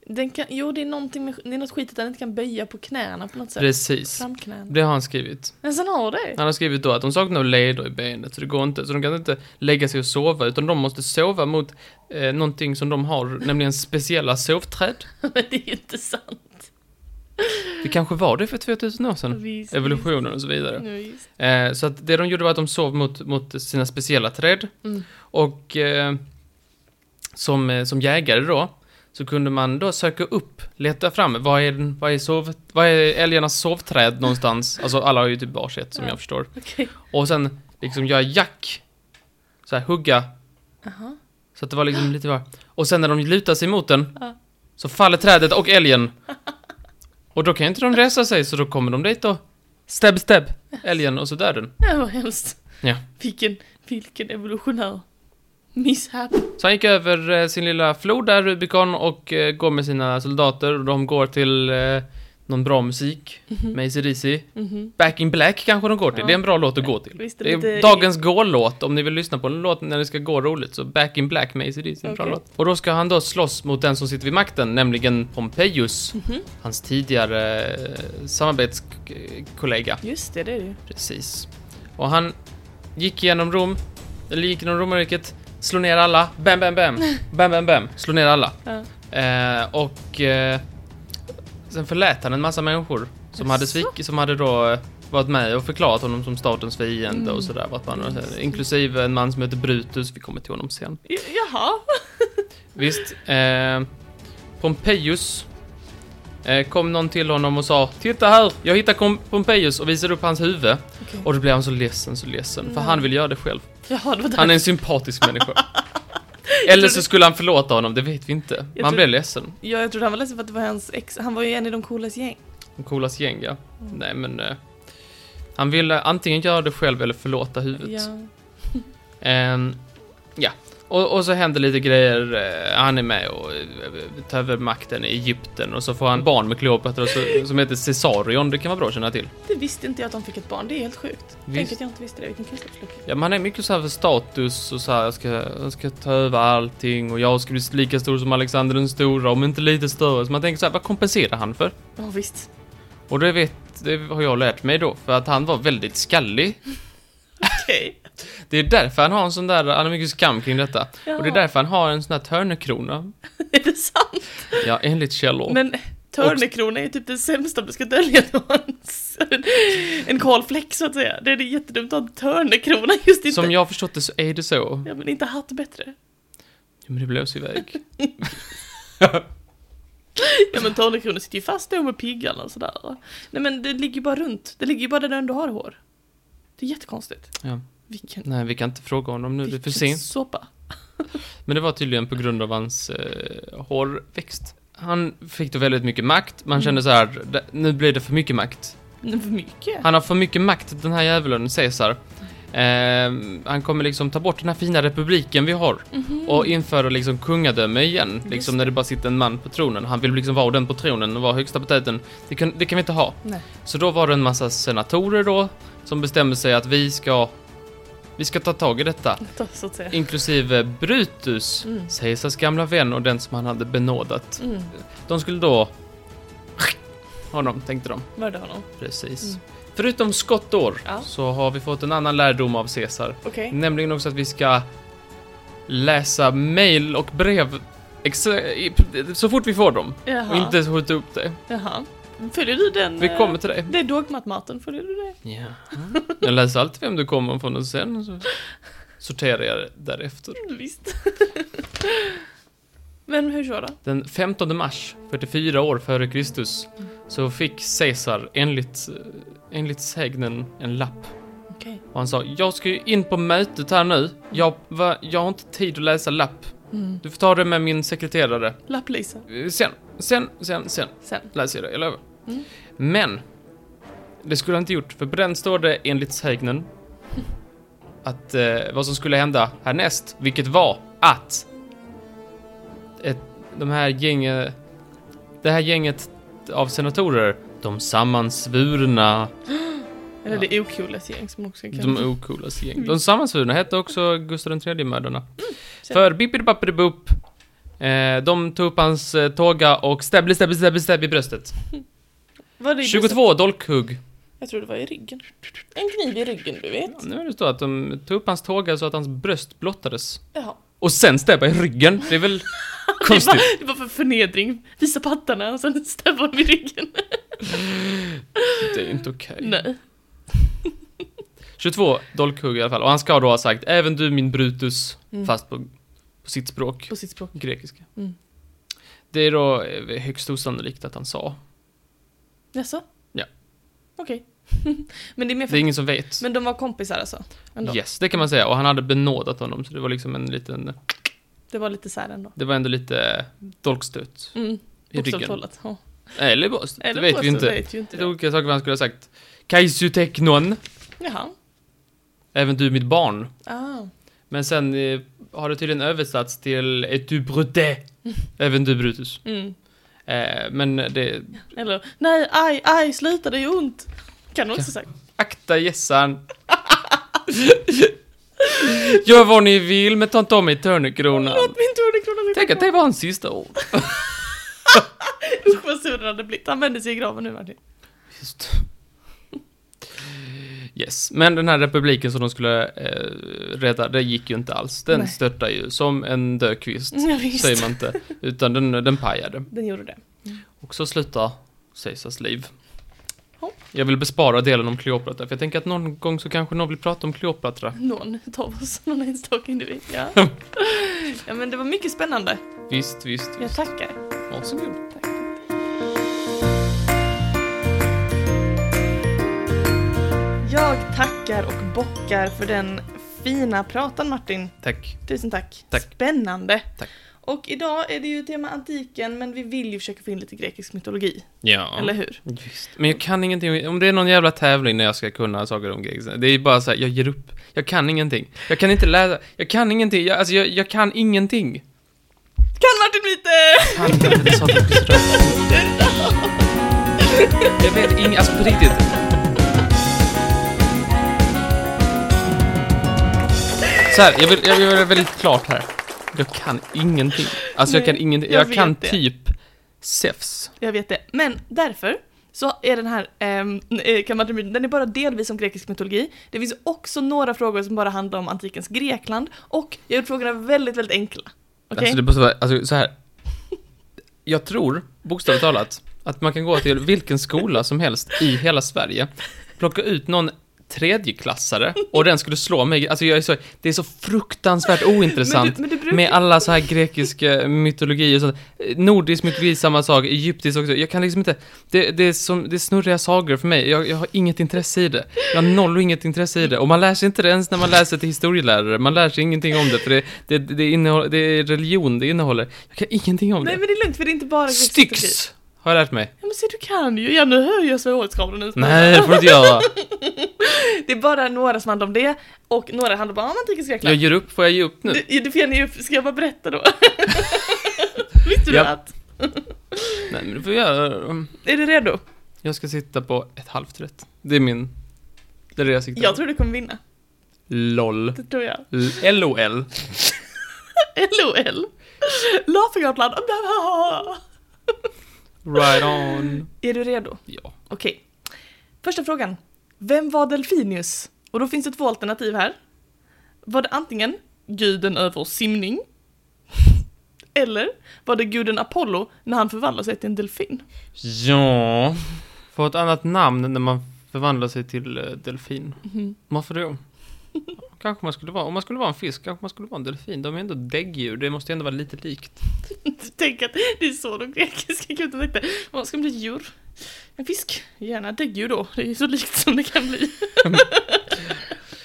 Speaker 2: Den kan, jo, det är, någonting med, det är något skit att den inte kan böja på knäna på något sätt.
Speaker 1: Precis.
Speaker 2: Framknän.
Speaker 1: Det har han skrivit.
Speaker 2: Men sen har det.
Speaker 1: Han har skrivit då att de saknar leder i benet, så det går inte. Så de kan inte lägga sig och sova, utan de måste sova mot eh, någonting som de har, nämligen speciella sovträd.
Speaker 2: *laughs* Men det är ju inte sant.
Speaker 1: Det kanske var det för 2000 år sedan.
Speaker 2: Visst,
Speaker 1: Evolutionen och så vidare.
Speaker 2: visst. Nu, visst.
Speaker 1: Eh, så att det de gjorde var att de sov mot, mot sina speciella träd.
Speaker 2: Mm.
Speaker 1: Och eh, som, eh, som jägare då, så kunde man då söka upp, leta fram, vad är, den- vad är, sov, vad är älgarnas sovträd någonstans? alltså alla har ju typ varsitt som
Speaker 2: Ja.
Speaker 1: jag förstår.
Speaker 2: Okej.
Speaker 1: Och sen liksom göra jack, så här hugga,
Speaker 2: Aha.
Speaker 1: så att det var liksom lite var. Och sen när de lutar sig mot den,
Speaker 2: Ja.
Speaker 1: så faller trädet och älgen. Och då kan ju inte de resa sig, så då kommer de dit och stab, stab, älgen och så dör den.
Speaker 2: Ja, vad hemskt.
Speaker 1: Ja.
Speaker 2: Vilken, vilken evolutionär mishap.
Speaker 1: Så han gick över eh, sin lilla flod där, Rubicon, och eh, går med sina soldater och de går till, eh, någon bra musik,
Speaker 2: Mhm.
Speaker 1: Macy DC,
Speaker 2: Mhm.
Speaker 1: Back in Black kanske de går till.
Speaker 2: Ja.
Speaker 1: Det är en bra låt att gå till.
Speaker 2: Visst är
Speaker 1: Det
Speaker 2: det
Speaker 1: är
Speaker 2: lite...
Speaker 1: dagens gå-låt, om ni vill lyssna på en låt när det ska gå roligt, så Back in Black med ACDC är en bra
Speaker 2: Okej.
Speaker 1: låt. Och då ska han då slåss mot den som sitter vid makten, nämligen Pompejus,
Speaker 2: Mhm.
Speaker 1: hans tidigare eh, samarbetskollega.
Speaker 2: Just det, det är det ju.
Speaker 1: Precis. Och han gick genom Rom, eller gick genom romarriket, slog ner alla, bam, bam,
Speaker 2: *laughs*
Speaker 1: bam, bam, bam, bam, slog ner alla.
Speaker 2: Ja.
Speaker 1: Eh, och eh, sen förlät han en massa människor som hade,
Speaker 2: Jaså?
Speaker 1: svik, som hade då eh, varit med och förklarat honom som statens fiende
Speaker 2: Mm.
Speaker 1: och sådär. Varit man,
Speaker 2: Just det.
Speaker 1: inklusive en man som heter Brutus, vi kommer till honom sen.
Speaker 2: J- Jaha.
Speaker 1: Visst, eh, Pompejus eh, kom någon till honom och sa Titta här, jag hittar kom- Pompejus och visade upp hans huvud.
Speaker 2: Okej. Mm.
Speaker 1: Och då blev han så ledsen, så ledsen, för
Speaker 2: Nej.
Speaker 1: han vill göra det själv.
Speaker 2: Jaha, det var där.
Speaker 1: Han är en sympatisk
Speaker 2: *laughs*
Speaker 1: människa. Eller så skulle han förlåta honom, det vet vi inte. Men han
Speaker 2: tror-
Speaker 1: blev ledsen.
Speaker 2: Ja, jag trodde han var ledsen för att det var hans ex. Han var ju en i de coolas gäng.
Speaker 1: De coolas gäng, ja. Nej, men... eh, han ville antingen göra det själv eller förlåta huvudet.
Speaker 2: Ja.
Speaker 1: Ehm, ja. Och, och så händer lite grejer. eh, han är med och eh, tar över makten i Egypten och så får han barn med Kleopatra så- som heter Caesarion. Det kan vara bra att känna till.
Speaker 2: Det visste inte jag att de fick ett barn. Det är helt sjukt. Tänk
Speaker 1: Visst.
Speaker 2: att jag inte visste det. Vilken kunskapslucka.
Speaker 1: Ja, man är mycket så här för status och så här, jag ska, jag ska ta över allting och jag ska bli lika stor som Alexander den stora, om inte lite större. Så man tänker så här, vad kompenserar han för?
Speaker 2: Ja, visst.
Speaker 1: Och det vet, det har jag lärt mig då, för att han var väldigt skallig.
Speaker 2: Okej.
Speaker 1: Det är därför han har en sån där, han har mycket skam kring detta.
Speaker 2: Ja.
Speaker 1: Och det är därför han har en sån där törnekrona.
Speaker 2: Är *laughs* det sant?
Speaker 1: Ja, enligt källor.
Speaker 2: Men törnekrona är ju typ det sämsta om du ska dölja någon. En kalfläck så att säga. Det är det jättedumt att ha en törnekrona just inte.
Speaker 1: Som jag har förstått det så är det så.
Speaker 2: Ja, men inte hatt bättre.
Speaker 1: Ja, men det blåser iväg.
Speaker 2: Ja, men törnekronor sitter ju fast där med piggarna och sådär. va? Nej, men det ligger ju bara runt. Det ligger ju bara där du ändå har hår. Det är jättekonstigt.
Speaker 1: Ja.
Speaker 2: Vilken...
Speaker 1: Nej, vi kan inte fråga honom nu, det är för
Speaker 2: vilken
Speaker 1: sent.
Speaker 2: Såpa.
Speaker 1: Men det var tydligen på grund av hans eh, hårväxt. Han fick då väldigt mycket makt,
Speaker 2: Mm.
Speaker 1: man kände så här, "Det- nu blir det för mycket makt.
Speaker 2: Nej, För mycket.
Speaker 1: Han har för mycket makt, den här djävulen, Caesar. Ehm, han kommer liksom ta bort den här fina republiken vi har
Speaker 2: Mhm.
Speaker 1: och införa liksom kungadöme igen,
Speaker 2: Just
Speaker 1: liksom
Speaker 2: det.
Speaker 1: när det bara sitter en man på tronen. Han vill liksom vara den på tronen och vara högsta på täten. Det kan, det kan vi inte ha.
Speaker 2: Nej.
Speaker 1: Så då var det en massa senatorer då som bestämde sig att vi ska, vi ska ta tag i detta.
Speaker 2: Ta, så att säga.
Speaker 1: Inklusive Brutus,
Speaker 2: Mm.
Speaker 1: Caesars gamla vän och den som han hade benådat.
Speaker 2: Mm.
Speaker 1: De skulle då honom, tänkte de.
Speaker 2: Mörda honom.
Speaker 1: Precis.
Speaker 2: Mm.
Speaker 1: Förutom skottår
Speaker 2: Ja.
Speaker 1: så har vi fått en annan lärdom av Caesar.
Speaker 2: Okej.
Speaker 1: Nämligen också att vi ska läsa mail och brev ex- i- så fort vi får dem.
Speaker 2: Jaha.
Speaker 1: Och inte skjuta upp det.
Speaker 2: Jaha. Följer du den?
Speaker 1: Vi
Speaker 2: eh,
Speaker 1: kommer till det.
Speaker 2: Det är dogmat-maten, följer du det?
Speaker 1: Ja. *laughs* Jag läser alltid vem du kommer ifrån och sen så sorterar jag det därefter.
Speaker 2: Visst. *laughs* Men hur så då?
Speaker 1: Den 15 mars, 44 år före Kristus,
Speaker 2: Mm.
Speaker 1: så fick Caesar enligt, enligt sägnen en lapp.
Speaker 2: Okej.
Speaker 1: Och han sa, jag ska ju in på mötet här nu. Jag, va, jag har inte tid att läsa lapp.
Speaker 2: Mm.
Speaker 1: Du får ta det med min sekreterare.
Speaker 2: Lapplisa.
Speaker 1: Eh, Sen, sen, sen, sen
Speaker 2: Sen.
Speaker 1: läser jag det, jag lovar.
Speaker 2: Mm.
Speaker 1: Men, det skulle han inte gjort, för på den står det enligt sägnen att eh, vad som skulle hända härnäst, vilket var att ett, de här gänget, det här gänget av senatorer, de sammansvurna,
Speaker 2: Eller det okolas gäng som också kan...
Speaker 1: de ocoolaste gäng.
Speaker 2: Mm.
Speaker 1: De sammansvurna hette också Gustav III-mördarna.
Speaker 2: sen.
Speaker 1: För bippidi-bappidi-boop, eh, de tog upp hans eh, tåga och stäbbli, stäbbli, stäbbli, stäbbli i bröstet.
Speaker 2: Var det i bröstet?
Speaker 1: 22 dolkhugg.
Speaker 2: Jag tror det var i ryggen. En kniv i ryggen, du vet.
Speaker 1: Ja, nu är det så att de tog upp hans tåga så att hans bröst blottades.
Speaker 2: Jaha.
Speaker 1: Och sen stäbba i ryggen, det är
Speaker 2: *laughs*
Speaker 1: väl konstigt?
Speaker 2: Det var för förnedring. Visa pattarna och sen stämma honom i ryggen.
Speaker 1: Det är inte okej.
Speaker 2: Nej.
Speaker 1: 22 dolkhugg i alla fall. Och han ska då ha sagt även du min Brutus,
Speaker 2: Mm.
Speaker 1: fast på, på sitt språk,
Speaker 2: På sitt språk.
Speaker 1: grekiska.
Speaker 2: Mm.
Speaker 1: Det är då eh, högst osannolikt att han sa.
Speaker 2: Jaså?
Speaker 1: Ja.
Speaker 2: Okej. *laughs* men det är mer för...
Speaker 1: Det är ingen som vet.
Speaker 2: Men de var kompisar alltså? Ändå.
Speaker 1: Yes, det kan man säga. Och han hade benådat honom, så det var liksom en liten,
Speaker 2: Det var lite så här ändå.
Speaker 1: det var ändå lite dolkstöt
Speaker 2: Mm.
Speaker 1: i ryggen.
Speaker 2: Bokstavshållat. Ja.
Speaker 1: Eller bara, det
Speaker 2: Eller
Speaker 1: vet
Speaker 2: på
Speaker 1: vi
Speaker 2: så
Speaker 1: inte.
Speaker 2: Vet ju inte
Speaker 1: Lite
Speaker 2: det.
Speaker 1: olika saker vad han skulle ha sagt. Kaisu teknon.
Speaker 2: Jaha.
Speaker 1: Även du mitt barn.
Speaker 2: Ah.
Speaker 1: Men sen
Speaker 2: *laughs*
Speaker 1: eh, har det tydligen översatts till Et du brute. Även du Brutus.
Speaker 2: Mm.
Speaker 1: Eh, men det,
Speaker 2: Eller nej, aj, aj, sluta, det gör ont. Kan du också säga.
Speaker 1: akta
Speaker 2: *laughs*
Speaker 1: gässan. Gör vad ni vill, men ta inte av mig törnekronan.
Speaker 2: Låt min tornekrona ligga
Speaker 1: Tänk att
Speaker 2: kvar.
Speaker 1: det var hans sista ord.
Speaker 2: Usch vad sur han hade blivit. Han vände sig i graven nu verkligen.
Speaker 1: Just. Yes, men den här republiken som de skulle eh, rädda, det gick ju inte alls. Den
Speaker 2: Nej. Mm,
Speaker 1: störtade ju som en dökvist,
Speaker 2: Ja, visst.
Speaker 1: säger man inte. Utan den, den pajade.
Speaker 2: Den gjorde det.
Speaker 1: Och så slutar Caesars liv.
Speaker 2: Ja.
Speaker 1: Jag vill bespara delen om Kleopatra, för jag tänker att någon gång så kanske någon vill prata om Kleopatra.
Speaker 2: Någon utav oss, någon enstaka individ.
Speaker 1: *laughs*
Speaker 2: Ja. ja men det var mycket spännande.
Speaker 1: Visst, visst,
Speaker 2: Jag
Speaker 1: visst.
Speaker 2: tackar.
Speaker 1: Varsågod.
Speaker 2: Jag tackar och bockar för den fina pratan Martin.
Speaker 1: Tack.
Speaker 2: Tusen tack.
Speaker 1: Tack.
Speaker 2: Spännande.
Speaker 1: Tack.
Speaker 2: Och idag är det ju tema antiken men vi vill ju försöka få in lite grekisk mytologi,
Speaker 1: Ja.
Speaker 2: eller hur?
Speaker 1: Visst. Men jag kan ingenting, om det är någon jävla tävling när jag ska kunna saker om grekiska, det är bara så här, jag ger upp. Jag kan ingenting. Jag kan inte läsa, jag kan ingenting, jag, alltså jag, jag kan ingenting.
Speaker 2: Kan Martin
Speaker 1: *laughs*
Speaker 2: Mitte!
Speaker 1: Fan, jag vet inte, jag sa att jag skulle sluta. Jag vet inget, alltså på riktigt. Så här, jag vill, jag vill göra det väldigt klart här. Jag kan ingenting. Alltså jag
Speaker 2: Nej,
Speaker 1: kan ingenting,
Speaker 2: jag
Speaker 1: jag,
Speaker 2: vet
Speaker 1: kan
Speaker 2: det.
Speaker 1: typ SEFS.
Speaker 2: Jag vet det. Men därför så är den här ehm, eh, kan Martin Mitte, den är bara delvis om grekisk mytologi. Det finns också några frågor som bara handlar om antikens Grekland och jag har gjort frågorna väldigt, väldigt enkla. Okej?
Speaker 1: Alltså det måste vara, alltså så här. Jag tror, bokstavligt talat, att man kan gå till vilken skola som helst i hela Sverige, plocka ut någon tredjeklassare och den skulle slå mig. Alltså jag är så, det är så fruktansvärt
Speaker 2: *laughs* men,
Speaker 1: ointressant.
Speaker 2: du, men du brukar
Speaker 1: Med alla så här grekiska mytologi och sånt. Eh, Nordisk mytologi samma sak, egyptisk också. Jag kan liksom inte, det, det, är, som, det är snurriga sagor för mig. Jag, jag har inget intresse i det. Jag har noll och inget intresse i det. Och man lär sig inte det ens när man läser till historielärare. Man lär sig ingenting om det, för det, det, det, innehåller, det är religion det innehåller. Jag kan ingenting om
Speaker 2: Nej
Speaker 1: det.
Speaker 2: men det är lugnt för det är inte bara grekisk mytologi.
Speaker 1: Styx! Har jag lärt mig.
Speaker 2: Ja men se du kan ju, ja nu hör jag svårighetsgraden ut.
Speaker 1: Nej, det får du inte göra.
Speaker 2: *laughs* Det är bara några som handlar om det och några handlar bara om antikens
Speaker 1: Jag
Speaker 2: Grekland.
Speaker 1: ger upp, får jag ge upp nu?
Speaker 2: Du, du får gärna ge upp, ska jag bara
Speaker 1: *laughs*
Speaker 2: berätta då? Visste du
Speaker 1: Ja.
Speaker 2: att?
Speaker 1: Nej, men det får jag göra. Mm.
Speaker 2: Är du redo?
Speaker 1: Jag ska sitta på ett halvt rätt. Det är min... Det är det jag siktar
Speaker 2: Jag
Speaker 1: på.
Speaker 2: tror du kommer vinna.
Speaker 1: LOL.
Speaker 2: Det tror jag.
Speaker 1: L- LOL.
Speaker 2: LOL. Laughing out loud.
Speaker 1: Right on.
Speaker 2: Är du redo?
Speaker 1: Ja.
Speaker 2: Okej. Första frågan. Vem var Delfinius? Och då finns det två alternativ här. Var det antingen guden över simning? Eller var det guden Apollo när han förvandlade sig till en delfin? *laughs*
Speaker 1: Ja. Få ett annat namn när man förvandlar sig till eh, delfin. Varför då? Kanske man skulle vara, om man skulle vara en fisk, kanske man skulle vara en delfin. De är ändå däggdjur, det måste ju ändå vara lite likt.
Speaker 2: Tänk att det är så de grekiska gudarna tänkte. Vad ska man bli ett djur? En fisk? Gärna ett däggdjur då. Det är ju så likt som det kan bli. *laughs*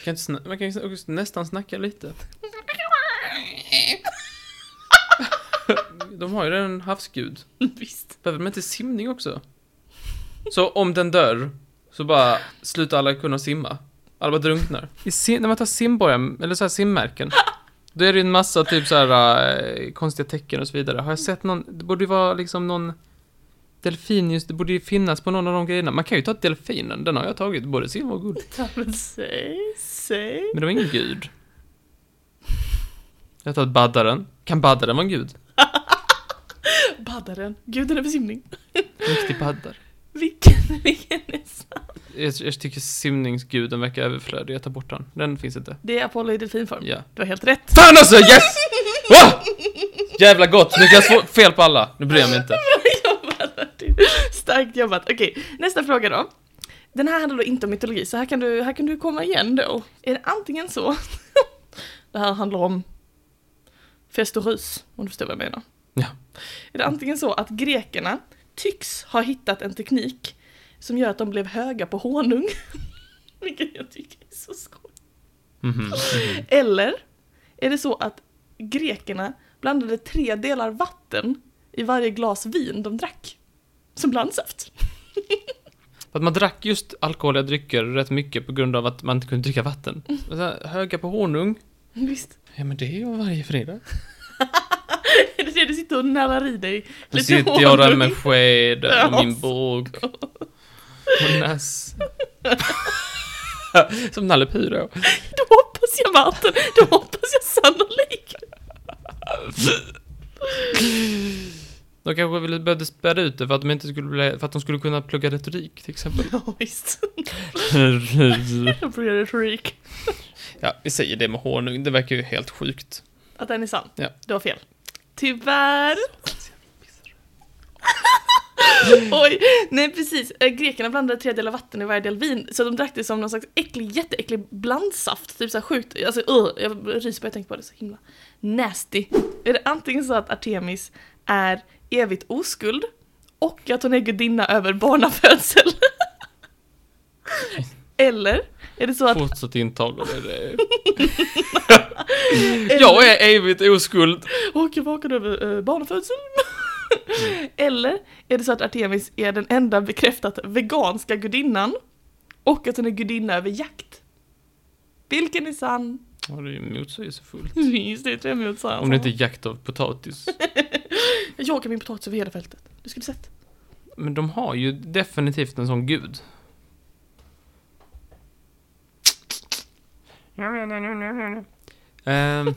Speaker 1: Kan inte sna- man kan ju också nästan snacka lite. De har ju redan en havsgud.
Speaker 2: Visst.
Speaker 1: Behöver de inte simning också? Så om den dör, så bara slutar alla kunna simma. Alla bara drunknar. I sim- när man tar simborgar, eller så här simmärken, då är det ju en massa typ så här eh, konstiga tecken och så vidare. Har jag sett någon, det borde ju vara liksom någon delfin just, det borde ju finnas på någon av de grejerna. Man kan ju ta delfinen, den har jag tagit, både sim och gud.
Speaker 2: Ja, men säg, säg.
Speaker 1: Men det var ingen gud. Jag har tagit baddaren. Kan baddaren vara en gud?
Speaker 2: Baddaren. Guden över simning.
Speaker 1: Riktig baddare.
Speaker 2: Vilken, *laughs* vilken är sann?
Speaker 1: Jag, jag tycker simningsguden verkar överflödig, jag tar bort den. Den finns inte.
Speaker 2: Det är Apollo i delfinform.
Speaker 1: Ja.
Speaker 2: Du har helt rätt.
Speaker 1: Fan alltså, yes!
Speaker 2: *laughs*
Speaker 1: Oh! Jävla gott, nu kan jag få fel på alla. Nu bryr jag mig inte.
Speaker 2: Bra jobbat Martin. Starkt jobbat. Okej, nästa fråga då. Den här handlar då inte om mytologi, så här kan du, här kan du komma igen då. Är det antingen så, *laughs* det här handlar om fest och rus, om du förstår vad jag menar.
Speaker 1: Ja.
Speaker 2: Är det antingen så att grekerna tycks ha hittat en teknik som gör att de blev höga på honung, *laughs* vilket jag tycker är så skoj.
Speaker 1: Mhm.
Speaker 2: Eller är det så att grekerna blandade tre delar vatten i varje glas vin de drack? Som blandsaft.
Speaker 1: För att man drack just alkoholiga drycker rätt mycket på grund av att man inte kunde dricka vatten. Och så här, höga på honung.
Speaker 2: Visst.
Speaker 1: Ja men det är ju varje fredag.
Speaker 2: Är det det *laughs* du sitter sitter och nallar i dig
Speaker 1: Nu
Speaker 2: lite
Speaker 1: sitter jag där med *laughs*
Speaker 2: honung.
Speaker 1: skeden och
Speaker 2: Ja.
Speaker 1: min båg. Och näs. *laughs* Som Nalle Pyro.
Speaker 2: Då hoppas jag Martin, då hoppas jag sannolikt.
Speaker 1: De kanske ville börja späda ut det för att de inte skulle bli, för att de skulle kunna plugga retorik till exempel.
Speaker 2: Ja *laughs* visst, då blir det retorik.
Speaker 1: ja, vi säger det med honung, det verkar ju helt sjukt.
Speaker 2: Att den är sann.
Speaker 1: Ja.
Speaker 2: Du har fel. Tyvärr. Oj, nej precis. Eh, Grekerna blandade tre delar vatten i varje del vin, så de drack det som någon slags äcklig, jätteäcklig blandsaft. Typ såhär sjukt, alltså uh, jag ryser bara jag tänker på det, så himla nasty. Är det antingen så att Artemis är evigt oskuld och att hon är gudinna över barnafödsel? *laughs* Eller är det så att...
Speaker 1: Fortsätt intag av det. jag är evigt oskuld.
Speaker 2: Och jag vaknade över eh, barnafödsel.
Speaker 1: Mm.
Speaker 2: *laughs* Eller är det så att Artemis är den enda bekräftat veganska gudinnan och att hon är gudinna över jakt? Vilken är sann? *laughs*
Speaker 1: Ja, det är ju motsägelsefullt.
Speaker 2: Just det, det är mot sann.
Speaker 1: Om det inte är jakt av potatis.
Speaker 2: *laughs* Jag jagar min potatis över hela fältet. Du skulle sett.
Speaker 1: Men de har ju definitivt en sån gud. Ehm,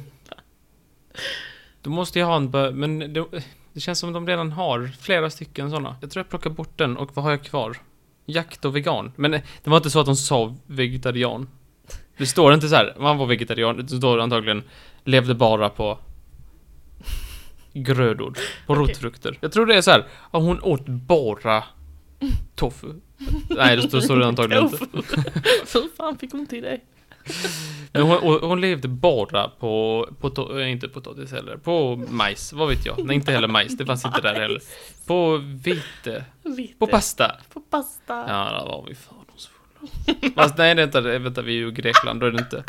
Speaker 1: då måste jag ha en bö- men det, det känns som de redan har flera stycken såna. Jag tror jag plockar bort den och vad har jag kvar? Jakt och vegan. Men eh, det var inte så att de sa vegetarian. Det står inte så här, man var vegetarian, det står antagligen levde bara på grödor, på
Speaker 2: Okej.
Speaker 1: rotfrukter. Jag tror det är så här, ja, hon åt bara tofu. Nej, det står så det antagligen
Speaker 2: *laughs*
Speaker 1: inte.
Speaker 2: Fy fan fick hon till dig?
Speaker 1: Men hon, hon, hon levde bara på, på to, eh, inte potatis heller, på majs, vad vet jag? Nej, inte heller majs, det fanns inte där *laughs* heller. På vite,
Speaker 2: Vite.
Speaker 1: på pasta.
Speaker 2: På pasta.
Speaker 1: Ja, där var vi fördomsfulla. Fast nej, vänta, det- vänta, vi är ju i Grekland, då är det inte.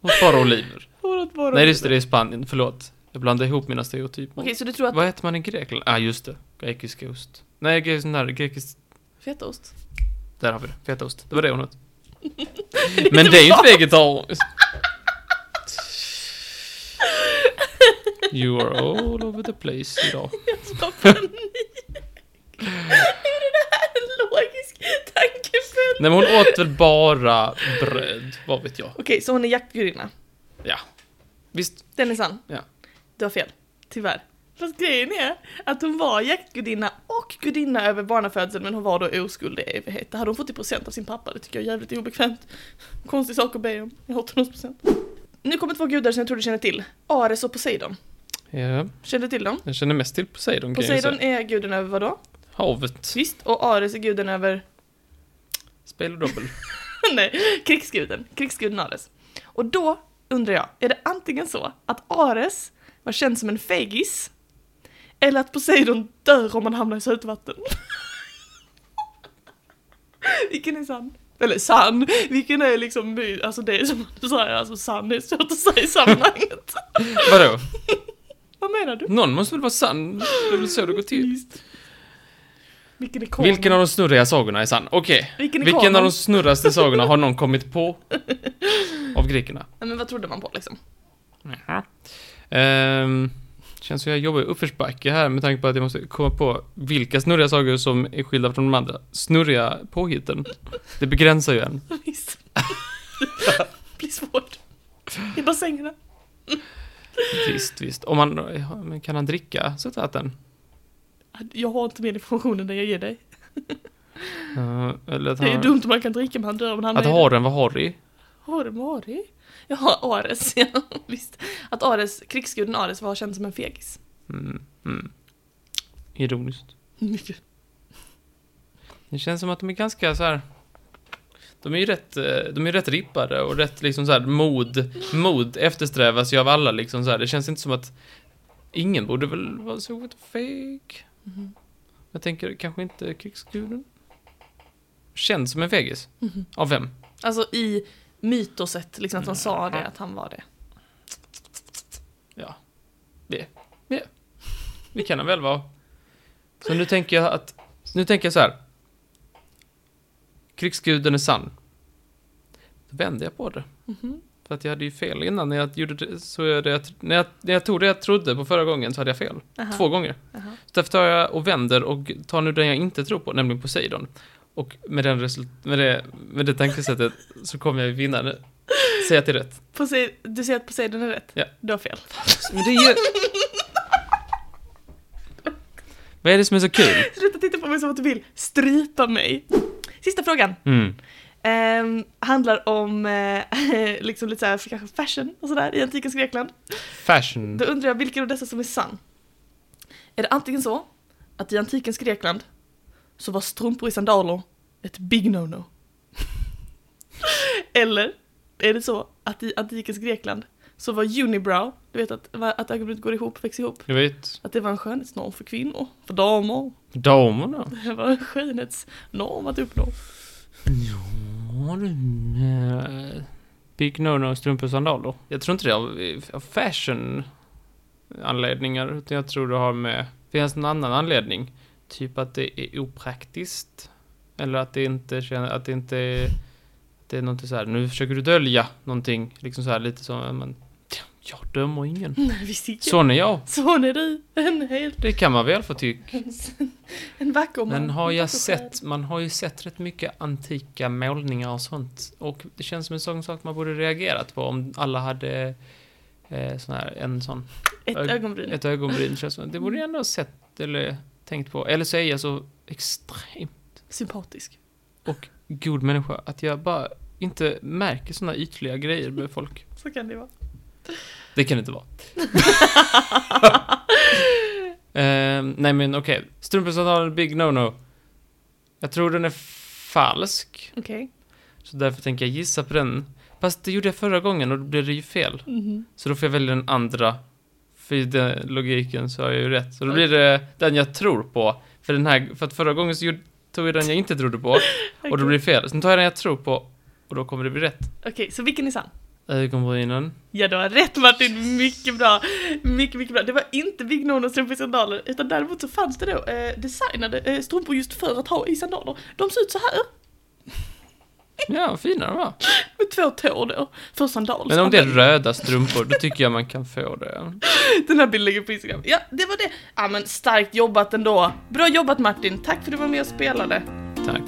Speaker 1: Hon bara oliver.
Speaker 2: Vårat vårat.
Speaker 1: Nej, just det, det är Spanien, förlåt. Jag blandade ihop mina stereotyper.
Speaker 2: Okej, så du tror att
Speaker 1: Vad äter man i Grekland? Ah, just det. Grekisk ost. Nej, grekisk, nej, grekisk...
Speaker 2: fetaost?
Speaker 1: Där har vi det. Fetaost. Det var det hon åt. Men *laughs* det är ju inte
Speaker 2: *laughs*
Speaker 1: vegetariskt. You are all over the place idag.
Speaker 2: Vad panik! Är det här en logisk tankeföljd?
Speaker 1: Nej men hon åt väl bara bröd, vad vet jag.
Speaker 2: Okej, så hon är jaktgudinna.
Speaker 1: Ja. Visst,
Speaker 2: Den är sann.
Speaker 1: Ja.
Speaker 2: Du har fel. Tyvärr. Fast grejen är att hon var jaktgudinna och gudinna över barnafödseln men hon var då oskuld i evighet. Det hade hon fått i procent av sin pappa, det tycker jag är jävligt obekvämt. Konstig sak att be om. Jag har 18 Nu kommer två gudar som jag tror du känner till. Ares och Poseidon.
Speaker 1: ja,
Speaker 2: Känner du till dem?
Speaker 1: jag känner mest till Poseidon kan jag ju
Speaker 2: Poseidon
Speaker 1: säga.
Speaker 2: är guden över vadå?
Speaker 1: Havet.
Speaker 2: Visst, och Ares är guden över
Speaker 1: Spel och dobbel.
Speaker 2: *laughs* Nej, krigsguden. Krigsguden Ares. Och då undrar jag, är det antingen så att Ares var känd som en fegis, eller att Poseidon dör om man hamnar i sötvatten? *laughs* Vilken är sann? Eller sann, vilken är liksom my- alltså det är som du säger, alltså sann är svårt att säga i sammanhanget.
Speaker 1: *laughs*
Speaker 2: *laughs*
Speaker 1: Vadå?
Speaker 2: Vad menar du?
Speaker 1: Någon måste väl vara sann? Det är väl så det går till.
Speaker 2: Visst. Vilken är kanon?
Speaker 1: Vilken av de snurriga sagorna är sann? Okej.
Speaker 2: Vilken är
Speaker 1: Vilken
Speaker 2: kanon?
Speaker 1: av de snurraste sagorna har någon kommit på? Av grekerna.
Speaker 2: Nej, men vad trodde man på liksom?
Speaker 1: Ehm, känns som jag jobbar i uppförsbacke här med tanke på att jag måste komma på vilka snurriga sagor som är skilda från de andra snurriga påhitten. Det begränsar ju en.
Speaker 2: *laughs* Visst. det blir svårt. I bassängerna.
Speaker 1: Visst, visst. Om man, ja, men kan han dricka sötvatten?
Speaker 2: Jag har inte mer information än det jag ger dig.
Speaker 1: Uh, eller att
Speaker 2: Det är ju
Speaker 1: han...
Speaker 2: dumt om man kan dricka men han dör om han
Speaker 1: Att
Speaker 2: har...
Speaker 1: haren var harry?
Speaker 2: Har det Mari? Jaha, Ares, ja *laughs* visst. Att Ares, krigsguden Ares var känd som en fegis.
Speaker 1: Mm, mm. Ironiskt.
Speaker 2: Mycket.
Speaker 1: Det känns som att de är ganska så här. De är ju rätt, eh, de är rätt rippade och rätt liksom så här mod, mod eftersträvas ju av alla liksom så här. Det känns inte som att ingen borde väl vara så feg.
Speaker 2: Mhm.
Speaker 1: Jag tänker kanske inte krigsguden. Känns som en fegis.
Speaker 2: Mm-hmm.
Speaker 1: Av vem?
Speaker 2: Alltså i mytoset, liksom att de sa det, att han var det.
Speaker 1: Vi kan han väl vara. Så nu tänker jag att, nu tänker jag så här. Krigsguden är sann. Då vänder jag på det.
Speaker 2: Mhm.
Speaker 1: För För att jag hade ju fel innan när jag gjorde det, så är det jag, tr- när, jag, när jag tog det jag trodde på förra gången så hade jag fel.
Speaker 2: Aha.
Speaker 1: Två gånger.
Speaker 2: Aha.
Speaker 1: Så därför tar jag och vänder och tar nu den jag inte tror på, nämligen Poseidon. Och med, den result- med, det, med det tankesättet så kommer jag ju vinna nu. Säg att det är rätt.
Speaker 2: Posei- du säger att Poseidon är rätt?
Speaker 1: Ja.
Speaker 2: Du har fel.
Speaker 1: Men det är
Speaker 2: *laughs*
Speaker 1: ju... Vad är det som är så kul?
Speaker 2: Sluta titta på mig som att du vill strypa mig. Sista frågan.
Speaker 1: Mm.
Speaker 2: Ehm, handlar om eh, *laughs* liksom lite såhär, kanske fashion och sådär i antikens Grekland.
Speaker 1: Fashion.
Speaker 2: Då undrar jag vilken av dessa som är sann. Är det antingen så att i antikens Grekland så var strumpor i sandaler ett big no-no? *laughs* Eller är det så att i antikens Grekland så var unibrow, du vet att, att ögonbrynet går ihop, växer ihop,
Speaker 1: Du vet,
Speaker 2: att det var en skönhetsnorm för kvinnor, för damer. *laughs*
Speaker 1: damerna.
Speaker 2: Det var en skönhetsnorm att uppnå.
Speaker 1: Ja, du... eh, Big no-no strumpor och sandaler. Jag tror inte det av, av fashion anledningar, utan jag tror det har med... Finns någon annan anledning? Typ att det är opraktiskt. Eller att det inte känner, att det inte är... Det är någonting så här, nu försöker du dölja någonting. Liksom så här lite som, men... ja, Jag dömer ingen.
Speaker 2: Nej, visst inte.
Speaker 1: Sån är jag.
Speaker 2: Sån är du, en helt...
Speaker 1: Det kan man väl få tycka.
Speaker 2: *laughs* En vacker man.
Speaker 1: Men har
Speaker 2: En
Speaker 1: jag
Speaker 2: vacker själ.
Speaker 1: sett, man har ju sett rätt mycket antika målningar och sånt. Och det känns som en sån sak man borde reagerat på om alla hade eh, sån här, en sån,
Speaker 2: Ett
Speaker 1: ög-
Speaker 2: ögonbryn.
Speaker 1: äh, ett ögonbryn. Känns som, det borde jag ändå ha sett eller tänkt på. Eller så är jag så extrem
Speaker 2: Sympatisk.
Speaker 1: och god människa att jag bara inte märker såna ytliga grejer med folk.
Speaker 2: Så kan det vara.
Speaker 1: *laughs* Det kan det *laughs* inte vara. eh, nej men okej, strumpesandalen, big no-no. Jag tror den är falsk.
Speaker 2: Okej.
Speaker 1: Så därför tänker jag gissa på den. Fast det gjorde jag förra gången och då blev det ju fel.
Speaker 2: Mhm.
Speaker 1: Så då får jag välja den andra. För i den logiken så har jag ju rätt. Så då blir det den jag tror på. För, den här, för att förra gången så gjorde, tog jag den jag inte trodde på och då
Speaker 2: Okej.
Speaker 1: blir det fel. Sen tar jag den jag tror på och då kommer det bli rätt.
Speaker 2: Okej, så vilken är sann?
Speaker 1: Ögonbrynen.
Speaker 2: Ja, du har rätt Martin, mycket bra. Mycket, mycket bra. Det var inte Big Nono strumpor i sandaler, utan däremot så fanns det då eh, designade eh, strumpor just för att ha i sandaler. De ser ut så här,
Speaker 1: Ja, vad fina de var.
Speaker 2: med två tår då, för sandaler.
Speaker 1: Men om det är röda strumpor, då tycker jag man kan få det.
Speaker 2: Den här bilden ligger på Instagram. Ja, det var det. Ja men starkt jobbat ändå. Bra jobbat Martin, tack för att du var med och spelade.
Speaker 1: Tack.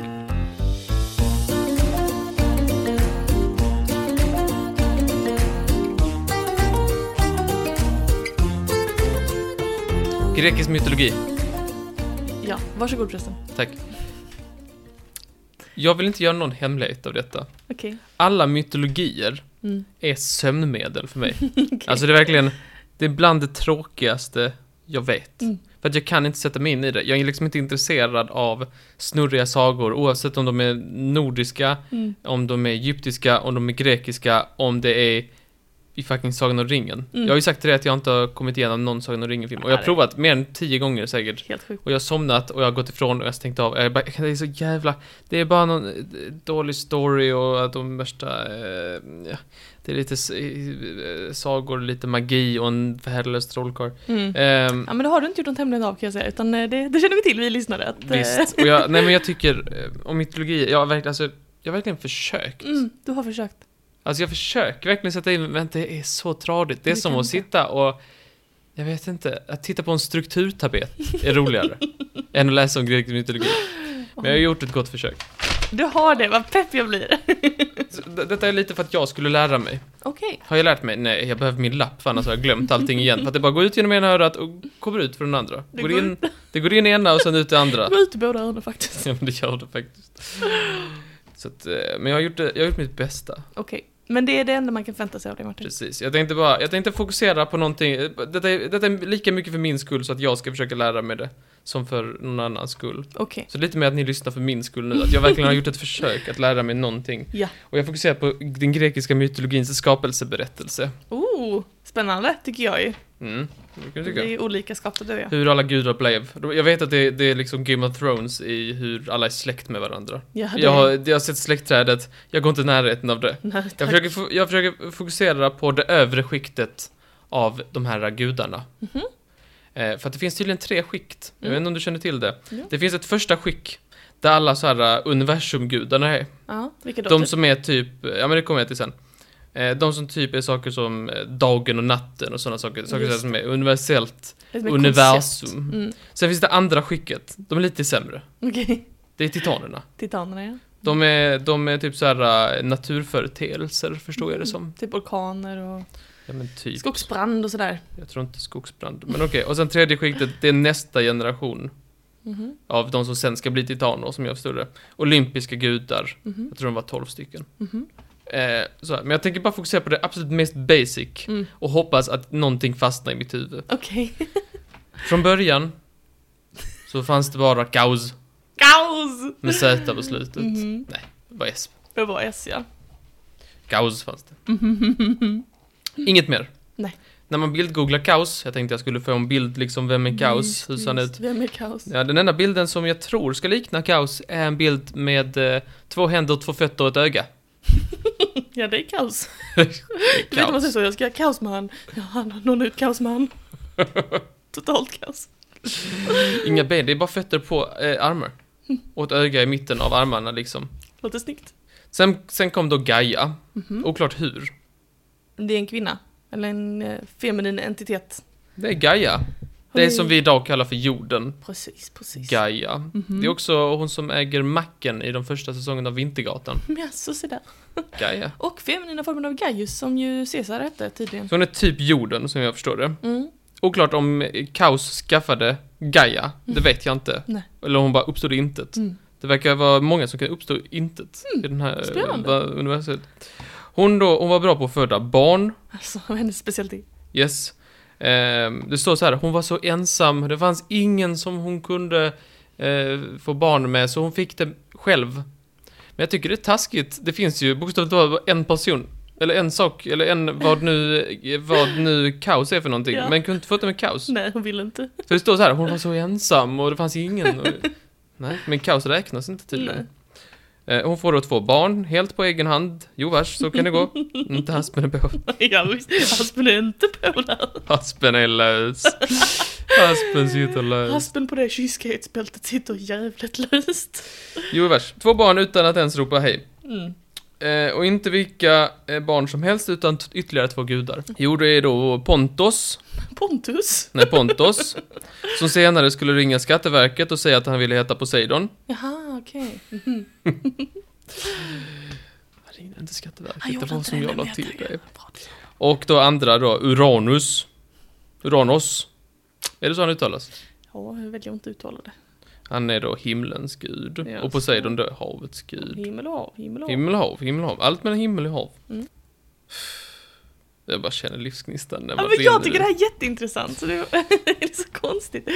Speaker 1: Grekisk mytologi.
Speaker 2: Ja, varsågod förresten.
Speaker 1: Tack. Jag vill inte göra någon hemlighet av detta.
Speaker 2: Okej.
Speaker 1: Alla mytologier
Speaker 2: Mm.
Speaker 1: är sömnmedel för
Speaker 2: *laughs*
Speaker 1: mig. Alltså det är verkligen, det är bland det tråkigaste jag vet.
Speaker 2: Mm.
Speaker 1: För att jag kan inte sätta mig in i det. Jag är liksom inte intresserad av snurriga sagor, oavsett om de är nordiska,
Speaker 2: Mm.
Speaker 1: om de är egyptiska, om de är grekiska, om det är i fucking Sagan om ringen.
Speaker 2: Mm.
Speaker 1: Jag har ju sagt till dig att jag inte har kommit igenom någon Sagan om ringen-film. Och jag har
Speaker 2: Nej.
Speaker 1: provat mer än tio gånger säkert.
Speaker 2: *laughs* Helt sjukt.
Speaker 1: Och jag har somnat och jag har gått ifrån och jag har stängt av. Jag bara, det är så jävla... Det är bara någon eh, dålig story och att de värsta... Eh, ja, det är lite s- eh, sagor, lite magi och en värdelös trollkarl.
Speaker 2: Mm.
Speaker 1: Ehm,
Speaker 2: Ja men det har du inte gjort någon hemlighet av kan jag säga, utan eh, det, det känner vi till vi lyssnare. Att, eh,
Speaker 1: visst. Och jag, nej men jag tycker eh, om mytologi, jag har verkligen, alltså, jag har verkligen försökt.
Speaker 2: *laughs* Mm, du har försökt.
Speaker 1: Alltså jag försöker verkligen sätta in, men det är så tradigt. Det är
Speaker 2: Det
Speaker 1: som
Speaker 2: kan
Speaker 1: att
Speaker 2: det.
Speaker 1: sitta och... Jag vet inte, att titta på en strukturtabet är
Speaker 2: *laughs*
Speaker 1: roligare än att läsa om grekisk mytologi. Men jag har gjort ett gott försök.
Speaker 2: Du har det, vad pepp jag blir.
Speaker 1: Så d- Detta är lite för att jag skulle lära mig.
Speaker 2: Okej.
Speaker 1: Har jag lärt mig? Nej, jag behöver min lapp för annars har jag glömt allting igen. För att det bara går ut genom ena örat och kommer ut från den andra.
Speaker 2: Det
Speaker 1: Går
Speaker 2: går
Speaker 1: in, det går in i ena och sen ut i
Speaker 2: *laughs*
Speaker 1: andra.
Speaker 2: Gå ut i båda öronen faktiskt.
Speaker 1: Ja, men det gör det faktiskt. Så att, eh, men jag har, gjort det, jag har gjort mitt bästa,
Speaker 2: Okej. Men det är det enda man kan förvänta sig av dig Martin.
Speaker 1: precis. Jag tänkte bara, jag tänkte fokusera på någonting. Detta är, detta är lika mycket för min skull så att jag ska försöka lära mig det, som för någon annans skull.
Speaker 2: Okej.
Speaker 1: Så lite mer att ni lyssnar för min skull nu, att jag verkligen har gjort ett försök att lära mig någonting.
Speaker 2: Ja.
Speaker 1: Och jag fokuserar på den grekiska mytologins skapelseberättelse.
Speaker 2: Oh, spännande tycker jag ju.
Speaker 1: Mm, det kan jag
Speaker 2: Det är
Speaker 1: tycka.
Speaker 2: ju olika skapade du och jag.
Speaker 1: Hur alla gudar blev. Jag vet att det, det är liksom Game of Thrones i hur alla är släkt med varandra.
Speaker 2: Ja, det...
Speaker 1: Jag har, jag har sett släktträdet, jag går inte i närheten av det.
Speaker 2: *laughs* Nej,
Speaker 1: Jag
Speaker 2: tack.
Speaker 1: försöker, fo- jag försöker fokusera på det övre skiktet av de här gudarna. Eh, för att det finns tydligen tre skikt, jag vet
Speaker 2: Mhm. Mm.
Speaker 1: inte om du känner till det.
Speaker 2: Ja.
Speaker 1: Det finns ett första skick, där alla så här eh, universumgudarna är.
Speaker 2: Ja, vilka då?
Speaker 1: typ, eh, De som är typ, ja men det kommer jag till sen. Eh, de som typ är saker som eh, dagen och natten och sådana saker. Saker
Speaker 2: Just
Speaker 1: som är universellt.
Speaker 2: Ett mer
Speaker 1: Universum.
Speaker 2: koncept. Mm.
Speaker 1: Sen finns det andra skicket. De är lite sämre.
Speaker 2: Okej, *laughs*
Speaker 1: Det är titanerna.
Speaker 2: titanerna ja.
Speaker 1: De är, de är typ såhär eh, naturföreteelser, förstår jag det som.
Speaker 2: Typ orkaner och
Speaker 1: Ja men typ.
Speaker 2: skogsbrand och sådär.
Speaker 1: Jag tror inte skogsbrand. Men okej, och sen tredje skiktet, det är nästa generation
Speaker 2: Mhm,
Speaker 1: av de som sen ska bli titaner, som jag förstod det. Olympiska gudar.
Speaker 2: mhm,
Speaker 1: Jag tror de var 12 stycken.
Speaker 2: mhm.
Speaker 1: Eh, så här. Men jag tänker bara fokusera på det absolut mest basic
Speaker 2: Mm.
Speaker 1: och hoppas att någonting fastnar i mitt huvud.
Speaker 2: Okej. *laughs*
Speaker 1: Från början så fanns det bara kaos
Speaker 2: Kaos!
Speaker 1: med Z på slutet.
Speaker 2: Mhm.
Speaker 1: Nej, det var S.
Speaker 2: Det var S ja.
Speaker 1: Kaos fanns det. Inget mer.
Speaker 2: Nej.
Speaker 1: När man bildgooglar kaos, jag tänkte jag skulle få en bild liksom, vem är kaos?
Speaker 2: Mm,
Speaker 1: Hur ser han ut?
Speaker 2: Vem är kaos?
Speaker 1: Ja, den enda bilden som jag tror ska likna kaos är en bild med eh, två händer, två fötter och ett öga.
Speaker 2: Ja det är
Speaker 1: *laughs*
Speaker 2: kaos. *laughs* Du vet
Speaker 1: Kaos.
Speaker 2: vad man säger så, jag ska ha kaos med han. Ja, han har någon ut kaos
Speaker 1: *laughs*
Speaker 2: med han. Totalt kaos.
Speaker 1: Inga ben, det är bara fötter på eh, armar. Och ett öga i mitten av armarna liksom.
Speaker 2: Låter snyggt.
Speaker 1: Sen, sen kom då Gaia. Oklart hur.
Speaker 2: Det är en kvinna. Eller en eh, feminin entitet.
Speaker 1: Det är Gaia.
Speaker 2: Har
Speaker 1: Det är
Speaker 2: ni-
Speaker 1: som vi idag kallar för jorden.
Speaker 2: Precis, precis. Mm-hmm.
Speaker 1: Gaia. Det är också hon som äger macken i de första säsongerna av Vintergatan.
Speaker 2: Men ja, så se där.
Speaker 1: Gaia.
Speaker 2: Och feminina formen av Gaius som ju Caesar hette tydligen.
Speaker 1: Så hon är typ jorden som jag förstår det.
Speaker 2: Mm.
Speaker 1: Oklart om eh, Kaos skaffade Gaia. Det vet jag inte.
Speaker 2: Nej.
Speaker 1: Eller om hon bara uppstod i intet.
Speaker 2: Mm.
Speaker 1: Det verkar vara många som kan uppstå intet i den här
Speaker 2: spännande.
Speaker 1: va- universet. Hon, då, hon var bra på att föda barn.
Speaker 2: Alltså *laughs* vad hennes specialitet.
Speaker 1: Yes. Ehm, det står så här, hon var så ensam. Det fanns ingen som hon kunde eh, få barn med, så hon fick det själv. Men jag tycker det är taskigt. Det finns ju bokstavligt talat en person. Eller en sak, eller en vad nu, vad nu kaos är för någonting.
Speaker 2: Ja.
Speaker 1: Men kunde inte få det med kaos.
Speaker 2: Nej hon vill inte. *laughs*
Speaker 1: Så det står så här, hon var så ensam och det fanns ingen. Och, nej, men kaos räknas inte tydligen. Eh, Hon får då två barn, helt på egen hand. Jo vars, så kan det
Speaker 2: *laughs*
Speaker 1: gå. Inte haspen är på.
Speaker 2: Ja, visst. Aspen är inte på där.
Speaker 1: Haspen är lös. Haspen sitter lös.
Speaker 2: Aspen på det kyskhetsbältet sitter jävligt löst.
Speaker 1: Jo vars, två barn utan att ens ropa hej.
Speaker 2: Mm.
Speaker 1: Eh, och inte vilka eh, barn som helst, utan t- ytterligare två gudar. Jo, det är då Pontos,
Speaker 2: Pontus.
Speaker 1: nej
Speaker 2: *laughs*
Speaker 1: Pontos, som senare skulle ringa Skatteverket och säga att han ville heta Poseidon.
Speaker 2: Jaha, okej.
Speaker 1: Han ringde inte
Speaker 2: Han
Speaker 1: Skatteverket, det
Speaker 2: gjorde
Speaker 1: var
Speaker 2: inte
Speaker 1: som
Speaker 2: det,
Speaker 1: jag typ
Speaker 2: men
Speaker 1: la
Speaker 2: jag
Speaker 1: till
Speaker 2: taggade.
Speaker 1: det.
Speaker 2: Bra.
Speaker 1: Och då andra då, Uranus. Uranos. Är det så han uttalas?
Speaker 2: Ja, jag väljer att inte uttala det.
Speaker 1: Han är då himlens gud.
Speaker 2: Ja,
Speaker 1: och Poseidon då är havets gud.
Speaker 2: Himmel och hav, himmel och hav.
Speaker 1: Himmel och hav, himmel och hav. Allt mellan himmel och hav.
Speaker 2: Mm.
Speaker 1: Jag bara känner livsgnistan. när
Speaker 2: Ja,
Speaker 1: man
Speaker 2: men
Speaker 1: brinner
Speaker 2: jag
Speaker 1: i
Speaker 2: tycker det
Speaker 1: det.
Speaker 2: här är jätteintressant, så det är, *laughs* det är så konstigt.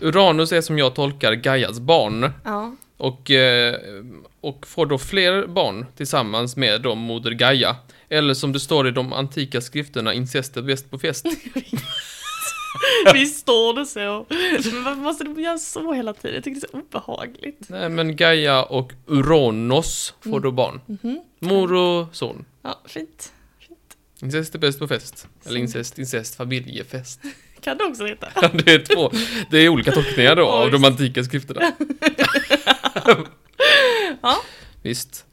Speaker 1: Uranus är som jag tolkar Gaias barn.
Speaker 2: Ja,
Speaker 1: Och, eh, och får då fler barn tillsammans med då moder Gaia. Eller som det står i de antika skrifterna, incest är bäst på
Speaker 2: *laughs*
Speaker 1: fest.
Speaker 2: *laughs* visst står det så. Men varför måste de göra så hela tiden? Jag tycker det är så obehagligt.
Speaker 1: Nej men Gaia och Uronos får
Speaker 2: Mm.
Speaker 1: då barn.
Speaker 2: Mhm.
Speaker 1: Mor och son.
Speaker 2: Ja, fint.
Speaker 1: Incest är bäst på fest. Eller
Speaker 2: Så.
Speaker 1: incest, incest, familjefest. *laughs*
Speaker 2: Kan det också heta.
Speaker 1: Det är två. Det är olika
Speaker 2: *laughs*
Speaker 1: tolkningar då av
Speaker 2: Oj.
Speaker 1: de antika skrifterna.
Speaker 2: *laughs* Ja.
Speaker 1: Visst.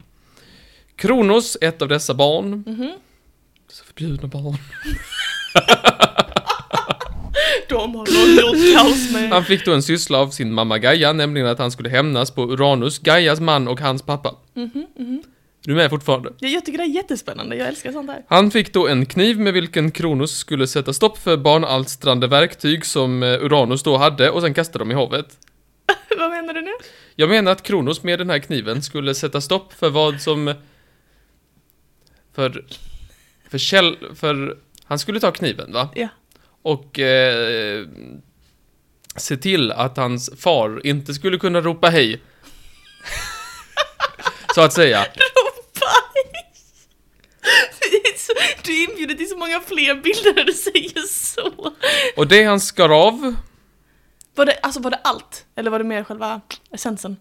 Speaker 1: Kronos, ett av dessa barn.
Speaker 2: Mhm.
Speaker 1: Så förbjudna barn.
Speaker 2: De har nog gjort kaos med.
Speaker 1: Han fick då en syssla av sin mamma Gaia, nämligen att han skulle hämnas på Uranus, Gaias man och hans pappa.
Speaker 2: Mhm, mhm.
Speaker 1: Du är med fortfarande?
Speaker 2: Ja, jag tycker det är jättespännande, jag älskar sånt där.
Speaker 1: Han fick då en kniv med vilken Kronos skulle sätta stopp för barnalstrande verktyg som eh, Uranus då hade och sen kasta dem i havet.
Speaker 2: Vad menar du nu?
Speaker 1: Jag menar att Kronos med den här kniven skulle sätta stopp för vad som... För... För käll... För... Han skulle ta kniven, va?
Speaker 2: Ja.
Speaker 1: Och... Eh, se till att hans far inte skulle kunna ropa hej. *laughs* Så att säga.
Speaker 2: Rompaj! Du är inbjuden till så många fler bilder när du säger så.
Speaker 1: Och det han skar av...
Speaker 2: Var det, alltså var det allt? Eller var det mer själva essensen?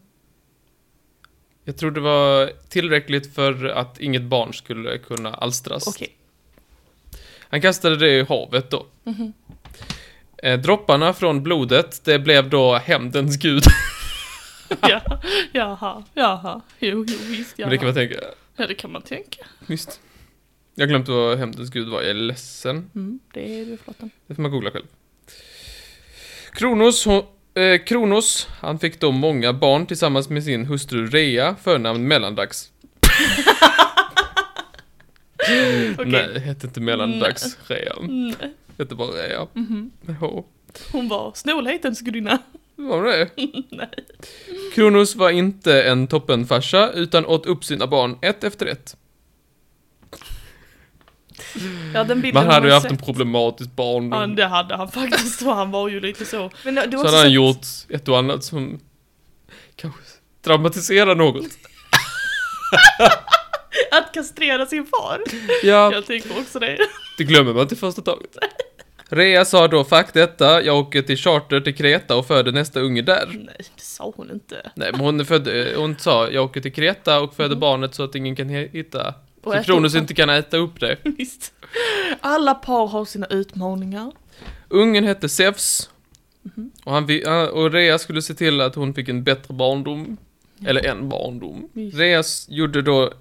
Speaker 1: Jag tror det var tillräckligt för att inget barn skulle kunna alstras.
Speaker 2: Okej.
Speaker 1: Han kastade det i havet då.
Speaker 2: Mhm.
Speaker 1: Eh, dropparna från blodet, det blev då hämndens gud.
Speaker 2: *laughs* Ja, *laughs* jaha, jaha. Jo, jo, visst, jaha.
Speaker 1: Men *laughs* det kan man tänka,
Speaker 2: Ja, det kan man tänka.
Speaker 1: visst. Jag har glömt vad hämndens gud var, jag är ledsen.
Speaker 2: Mm, det är duvflotten.
Speaker 1: Det får man googla själv. Kronos, hon, eh, Kronos, han fick då många barn tillsammans med sin hustru Rea, förnamn Mellandags.
Speaker 2: *laughs* Okej.
Speaker 1: Nej, hette inte Mellandags Rea.
Speaker 2: Mm,
Speaker 1: Hette bara Rea.
Speaker 2: mhm.
Speaker 1: Med H.
Speaker 2: Hon var snålhetens gudinna.
Speaker 1: Var
Speaker 2: *laughs*
Speaker 1: det Nej. Kronos var inte en toppenfarsa, utan åt upp sina barn ett efter ett.
Speaker 2: Ja, den bilden
Speaker 1: Man
Speaker 2: har
Speaker 1: hade ju
Speaker 2: man
Speaker 1: haft en
Speaker 2: sett.
Speaker 1: problematisk
Speaker 2: Ja,
Speaker 1: barndom.
Speaker 2: det hade han faktiskt, för han var ju lite så.
Speaker 3: Men det, det
Speaker 1: Så
Speaker 3: var
Speaker 1: hade
Speaker 3: också
Speaker 1: han gjort ett och annat som kanske dramatiserar något.
Speaker 2: *laughs* Att kastrera sin far.
Speaker 1: Ja,
Speaker 2: Jag tänker också det.
Speaker 1: det glömmer man till första taget. Rea sa då, fuck detta, jag åker till charter till Kreta och föder nästa unge där.
Speaker 2: Nej, det sa hon inte.
Speaker 1: Nej, men hon, födde, hon sa, jag åker till Kreta och föder
Speaker 2: Mm.
Speaker 1: barnet så att ingen kan he- hitta...
Speaker 2: Och
Speaker 1: så
Speaker 2: äta
Speaker 1: Kronos
Speaker 2: upp
Speaker 1: inte kan äta upp det.
Speaker 2: Visst. Alla par har sina utmaningar.
Speaker 1: Ungen hette Zeus. Och, han, vi- han- och Rea skulle se till att hon fick en bättre barndom. Eller en barndom.
Speaker 2: Just.
Speaker 1: Rea s- gjorde då eh,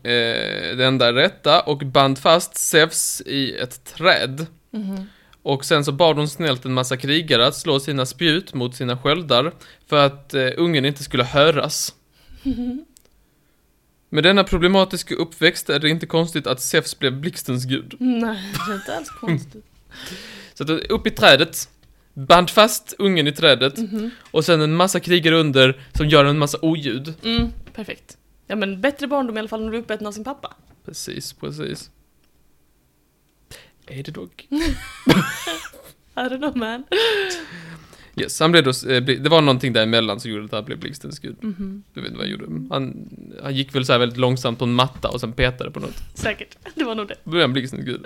Speaker 1: det enda rätta och band fast Zeus i ett träd.
Speaker 2: Mm-hmm.
Speaker 1: Och sen så bad hon snällt en massa krigare att slå sina spjut mot sina sköldar för att eh, ungen inte skulle höras. Med denna problematiska uppväxt är det inte konstigt att Zeus blev blixtens gud.
Speaker 2: Nej, det är inte alls konstigt.
Speaker 1: Så att eh, upp i trädet, band fast ungen i trädet
Speaker 2: Mm. Mm-hmm.
Speaker 1: och sen en massa krigare under som gör en massa oljud.
Speaker 2: Mm, perfekt. Ja men bättre barndom i alla fall när du är uppäten av sin pappa.
Speaker 1: Precis, precis. Är det dock?
Speaker 2: I don't know man.
Speaker 1: Yes, han blev då, eh, bli- det var någonting däremellan som gjorde att han blev blixtens gud.
Speaker 2: Mhm.
Speaker 1: Jag vet inte vad han gjorde. Han, han gick väl så här väldigt långsamt på en matta och sen petade på något.
Speaker 2: Säkert, det var nog det.
Speaker 1: Då blev han blixtens gud.